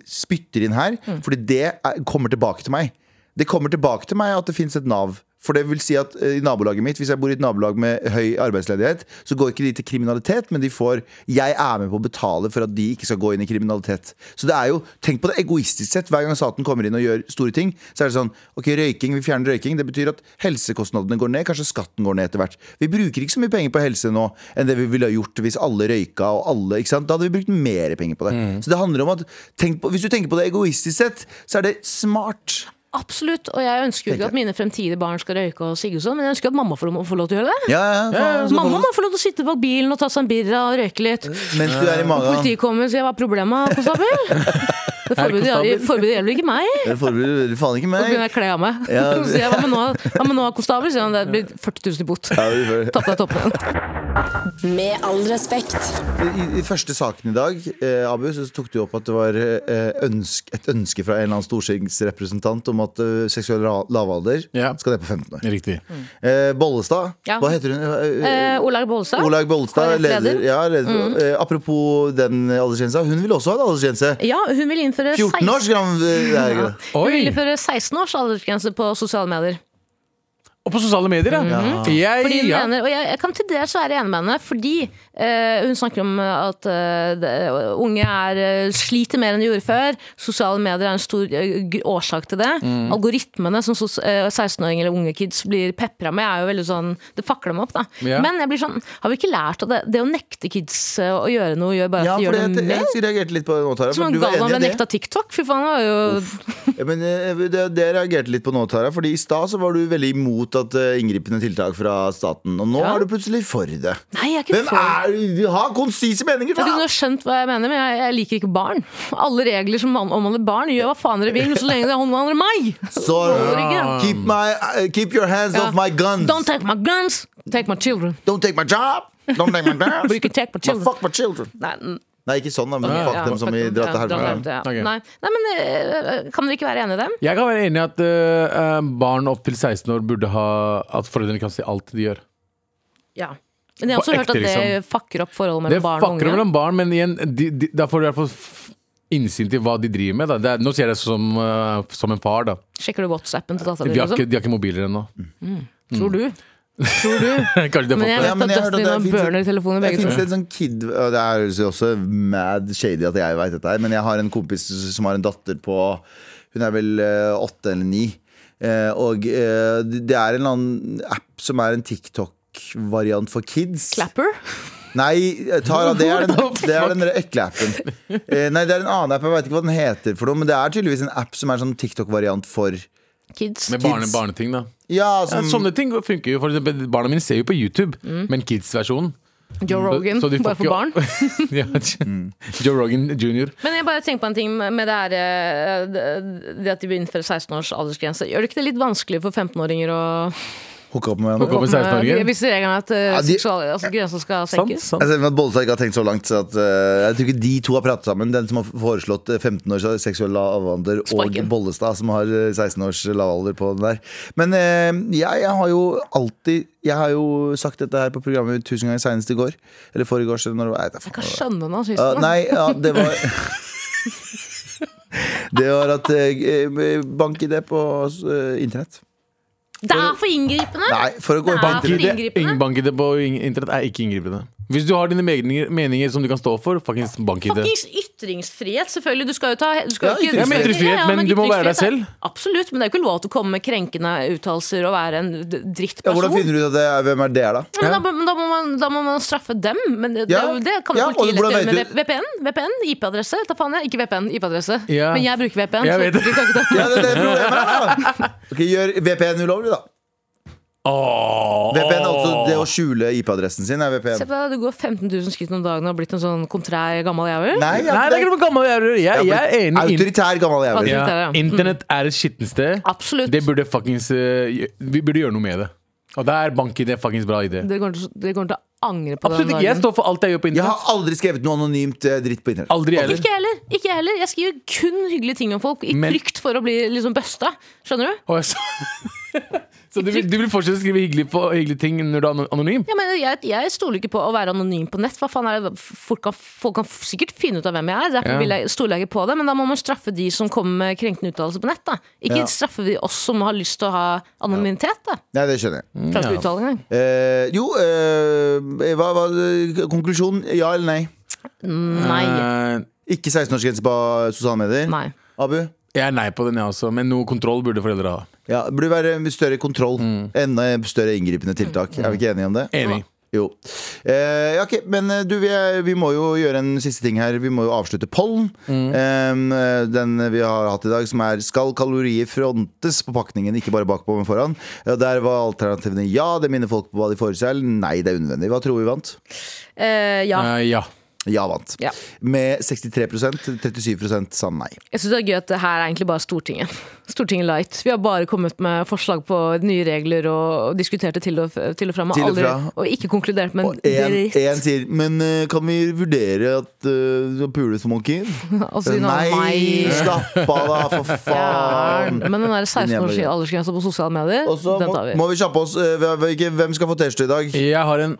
spytter inn her, fordi det er, kommer tilbake til meg. Det kommer tilbake til meg at det finnes et Nav. For det vil si at eh, i nabolaget mitt, Hvis jeg bor i et nabolag med høy arbeidsledighet, så går ikke de til kriminalitet, men de får Jeg er med på å betale for at de ikke skal gå inn i kriminalitet. Så det er jo, Tenk på det egoistisk sett. Hver gang staten kommer inn og gjør store ting, så er det sånn Ok, røyking, vi fjerner røyking. Det betyr at helsekostnadene går ned. Kanskje skatten går ned etter hvert. Vi bruker ikke så mye penger på helse nå enn det vi ville ha gjort hvis alle røyka og alle ikke sant? Da hadde vi brukt mer penger på det. Så det handler om at tenk på, Hvis du tenker på det egoistisk sett, så er det smart.
Absolutt. Og jeg ønsker jo
Tenker
ikke at mine fremtidige barn skal røyke og sigge og sånn, men jeg ønsker at mamma får lov, får lov til å gjøre det.
Ja, ja, ja, faen.
Mamma må få lov til å sitte bak bilen og ta seg en birra og røyke litt.
Mens du er i magen.
Politiet kommer og sier 'hva er problemet, konstabel?' Det forbudet gjelder- forbudet gjelder ikke meg.
Det forbereder faen ikke
Så
meg.
begynner jeg å kle av meg.
Ja.
Så sier jeg, hva med nå, hva med nå konstabel? Sier han det blir 40 000 i bot.
Ja, det får-
Tapp deg toppen.
Med all respekt.
I, I første saken i dag eh, Abu, så tok du opp at det var eh, ønsk, et ønske fra en eller annen stortingsrepresentant om at eh, seksuell ra- lavalder
Ja.
skal ned på 15 år.
Riktig.
Mm.
Eh, Bollestad,
Ja.
hva heter hun? Eh,
Eh, Olaug Bollestad.
Olaug Bollestad,
KrF -leder. Mm.
leder. Ja, leder. Eh, apropos den aldersgrensa, hun vil også ha en aldersgrense.
Ja, hun vil innføre
14 år
16
skal han eh, det er ikke det.
Hun vil
Oi!
innføre 16 års aldersgrense på sosiale medier.
Og på sosiale medier, ja. Jeg,
Mhm. Fordi hun
ja.
mener, og jeg, jeg kan til dels være enig med henne, fordi eh, hun snakker om at eh, det, unge er, eh, sliter mer enn de gjorde før. Sosiale medier er en stor eh, gr- årsak til det.
Mm.
Algoritmene som sos- eh, 16-åringer eller unge kids blir pepra med, er jo veldig sånn Det fakler dem opp, da.
Ja.
Men jeg blir sånn, har vi ikke lært at det, det å nekte kids eh, å gjøre noe, gjør bare at
Ja,
de
for
gjør
det,
det mer?
jeg, jeg reagerte litt på det nå, Tara.
Som
for
han
du var
Galvan
enig
ble
i det.
nekta TikTok. Fy faen, det var jo
Ja, men eh, det, det jeg reagerte litt på nå, Tara. Fordi I stad så var du veldig imot at eh, inngripende tiltak fra staten. Og nå er du plutselig for det.
Nei, jeg er ikke
Hvem
for
er Du har konsise meninger!
Jeg kunne
Tara!
jo skjønt hva jeg mener, men jeg, jeg liker ikke barn. Alle regler som man- omhandler barn, gjør hva faen dere vil, men så lenge det omhandler meg!
Så
ikke.
keep, my, eh, keep your hands
Ja.
off my guns!
Don't take my guns, take my children.
Don't take my job! Don't take my guns!
But you can take my
But
children.
fuck my children!
Nei, n-
Nei, ikke sånn, da, men fuck
ja,
dem som
fuck
vi
them.
drar
Ja,
til helvete.
ja.
Ok.
Nei. Nei, men eh, kan dere ikke være enig i dem?
jeg kan være enig i at eh, eh, barn opp til 16 år burde ha At foreldrene kan si alt de gjør.
Ja. Men jeg har
På
også hørt
ekte,
at
liksom?
det fucker opp forholdet
Det
mellom barn og
fucker
unge.
mellom barn, men igjen, de, de, da får du i hvert fall f- innsyn til hva de driver med. Da. Det er, nå sier jeg det som, eh, som en far, da.
Sjekker du WhatsAppen til dattera
De
di,
har ikke,
liksom?
de har ikke mobiler ennå.
Mm.
Tror du? Tror du?
Kanskje de har
Men
fått det.
jeg vet
Ja, men
at
jeg har hørt
døtrene
at det
dine
finnes-
burner telefoner
Det
begge to.
finnes en sånn kid og Det er jo også mad shady at jeg vet dette her Men jeg har en kompis som har en datter på Hun er vel eh, åtte eller ni Eh, Og eh, det er en eller annen app Som er en TikTok-variant for kids
Clapper?
Nei, eh, Tara, det er den, det er den der ekle appen. Eh, Nei, det er en annen app, jeg vet ikke hva den heter for noe Men det er tydeligvis en app som er sånn TikTok-variant for
Kids?
Med barne,
kids.
barneting, da.
Ja,
Ja,
mm. som
sånne ting funker jo. For eksempel, barna mine ser jo på YouTube,
Mm.
men kids-versjonen
Joe Rogan,
så de får
bare for
ikke-
barn?
ja,
Mm.
Joe Rogan jr.
Men jeg bare tenker på en ting med det, her, eh, det det at de vil innføre 16 års aldersgrense. Gjør det ikke det litt vanskelig for 15-åringer å
hooke opp med hverandre.
Hooke opp med 16-åringer.
Vi sier en gang at eh,
Ja, de- Sånn,
seksual- altså, grensa skal
Sant,
senkes.
Altså, Jeg
sant.
ser for meg at Bollestad ikke har tenkt så langt. Så at, eh, jeg tror ikke de to har pratet sammen. Den som har foreslått eh, 15 års seksuell lavalder, og
Sparken.
Bollestad, som har eh, 16 års lavalder på den der. Men eh, jeg, jeg har jo alltid Jeg har jo sagt dette her på programmet tusen ganger senest i går. Eller forrige år. Når, det var- jeg, vet da
Jeg
faen.
kan skjønne noe, synes
Ja,
jeg.
nei, ja, det var Det var at eh, Bank-ID på eh, internett.
Det er for inngripende!
Nei, for å gå
Nei.
på internett.
Bank-ID
Inngripende?
bank på ing- internett er ikke inngripende. Hvis du har dine meninger, meninger som du kan stå for, fuckings bank-ID.
Fuckings ytringsfrihet, selvfølgelig. Du skal jo ta du skal
Ja,
jo ikke,
ytringsfrihet. Ja, men
ytringsfrihet, men du må være deg
ytringsfrihet er- Absolutt, men det er jo ikke lov til å komme med krenkende uttalelser og være en d- drittperson.
Ja, hvordan finner du ut at det er, hvem er det, da?
Ja, men da, men da, må man, da må man straffe dem. Men det,
Ja.
det, er jo- det kan jo
Ja, og
politiet lett
hvordan
gjøre med
vet
VPN. VPN IP-adresse. Ta faen, jeg. Ikke VPN, IP-adresse.
Ja.
Men jeg bruker VPN.
Jeg
så
vet det.
du kan ikke ta
Ja, det er det problemet er, da. Ok, Gjør VPN ulovlig, da.
Åh.
VPN er altså det å skjule IP-adressen sin. er
Se
VPN
på deg, Du går 15 000 skritt om dagen og har blitt en sånn kontrær gammel jævel.
Nei, jeg,
Nei, det er ikke noe gammel jævel. Jeg, jeg er enig. i-
Autoritær gammel jævel.
ja,
Autoritær, ja.
Internett er et skittent sted.
Absolutt.
Det burde fuckings eh, gjø- Vi burde gjøre noe med det. Og der er bank-ID fuckings bra idé.
Dere kommer, til- dere kommer til å angre på
Absolutt
den
ikke. Jeg
dagen.
står for alt jeg gjør på
Jeg
internett.
har aldri skrevet noe anonymt eh, dritt på internett.
Aldri heller.
Ikke jeg heller. Ikke jeg heller. Jeg skriver kun hyggelige ting om folk, i
Men-
frykt for å bli liksom busta. Skjønner du?
Åh, Så så du vil, du vil fortsette å skrive hyggelige, på, hyggelige ting når du er ano- anonym?
Ja, men jeg, jeg stoler ikke på å være anonym på nett. Hva faen er det? Folk, kan, folk kan sikkert finne ut av hvem jeg er, derfor
Ja.
vil jeg stoler jeg ikke på det. Men da må man straffe de som kommer med krenkende uttalelser på nett. Da. Ikke
Ja.
straffe de oss som har lyst til å ha anonymitet. Da.
Nei, det skjønner jeg.
Fra
Ja.
uttalingen.
Eh, jo, eh, hva var konklusjonen? Ja eller nei?
Nei.
Eh,
Ikke 16-årsgrense på sosiale medier?
Nei.
Abu?
jeg er nei på den, jeg også. Men noe kontroll burde foreldre ha.
Ja, det burde være større kontroll.
Mm.
Enda større inngripende tiltak. Er vi ikke enige om det?
Enig.
Jo. Eh, ja, ok, Men eh, du, vi, er, vi må jo gjøre en siste ting her. Vi må jo avslutte pollen.
Mm.
Eh, den vi har hatt i dag, som er 'Skal kalorier frontes på pakningen, ikke bare bakpå, men foran'? Ja, der var alternativene ja, det minner folk på hva de får i seg, eller nei, det er unødvendig. Hva tror vi vant?
Eh, ja.
Eh, ja.
Ja vant.
Ja.
Med 63 37 sa nei.
Jeg syns det er gøy at det her er egentlig bare Stortinget. Stortinget Light. Vi har bare kommet med forslag på nye regler og og diskutert det til og, f- til og fra. men
Til og
aldri-
fra.
og ikke konkludert med
Og
en
én
dritt.
sier 'men eh, kan vi vurdere at uh, pule som monkeer'?
Og så sier han,
Nei,
nei.
slapp av, da, for
Ja,
faen!
Men den der
Din
16-års
jævla-
aldersgrensa på sosiale medier,
Og så
den
må,
tar vi.
må vi kjappe oss. Eh, hva- hvilke- Hvem skal få T-skjorte i dag?
Jeg har en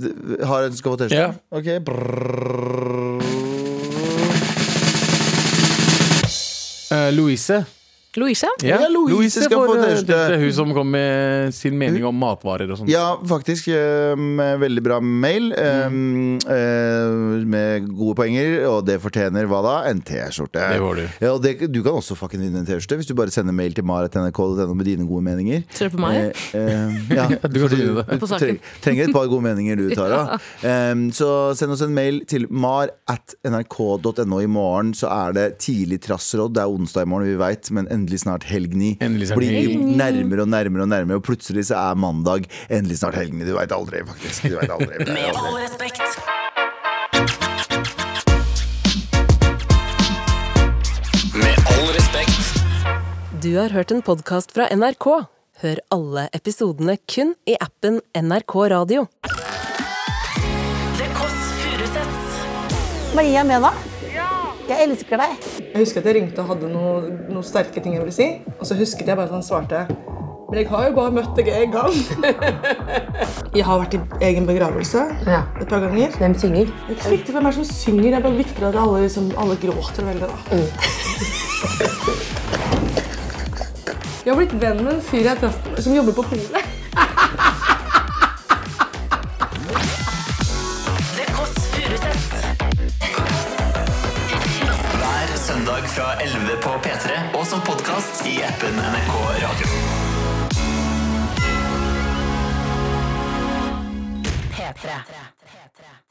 D- Har en skal få T-skjorte?
Ja.
Ok. brrrr.
eh, Louise.
Louise?
Ja, Louise skal få
eh,
T-skjorte.
det er Hun som kom med sin mening om matvarer og sånn.
Ja, faktisk. eh, med veldig bra mail. eh,
Mm.
eh, med gode poenger, og det fortjener hva da? En T-skjorte.
Det får du.
Ja, og det, du kan også fucking vinne en T-skjorte hvis du bare sender mail til maratnrk.no med dine gode meninger.
Ser du på meg?
Eh, eh, ja,
Du kan
fordi
vinne det.
På saken.
treng- trenger et par gode meninger du, Tara. Em, så send oss en mail til mar at nrk.no i morgen, så er det tidlig trassråd. Det er onsdag i morgen, vi veit, men endelig snart helg ni.
Endelig snart
Blir
helg
nærmere og nærmere og nærmere, og plutselig så er mandag endelig snart helg ni. Du veit aldri, faktisk. Du vet aldri. Du vet
Med all
aldri.
respekt.
Med all respekt.
Du har hørt en podkast fra NRK. Hør alle episodene kun i appen NRK Radio.
The Kåss Furuseths.
Maria Mena. Jeg elsker deg.
Jeg husker at jeg ringte og hadde noe- noen sterke ting jeg ville si. Og så husket jeg bare at han svarte Men jeg har jo bare møtt deg én gang. jeg har vært i egen begravelse et par ganger. Hvem synger? Det er ikke så viktig hvem er det som synger. Det er bare viktigere at alle, liksom, alle gråter veldig. da. jeg har blitt venn med en fyr jeg traff som jobber på polet.
The Kåss Furuseths.
Hver søndag fra 11 på P3 og som podkast i appen NRK Radio.
P3.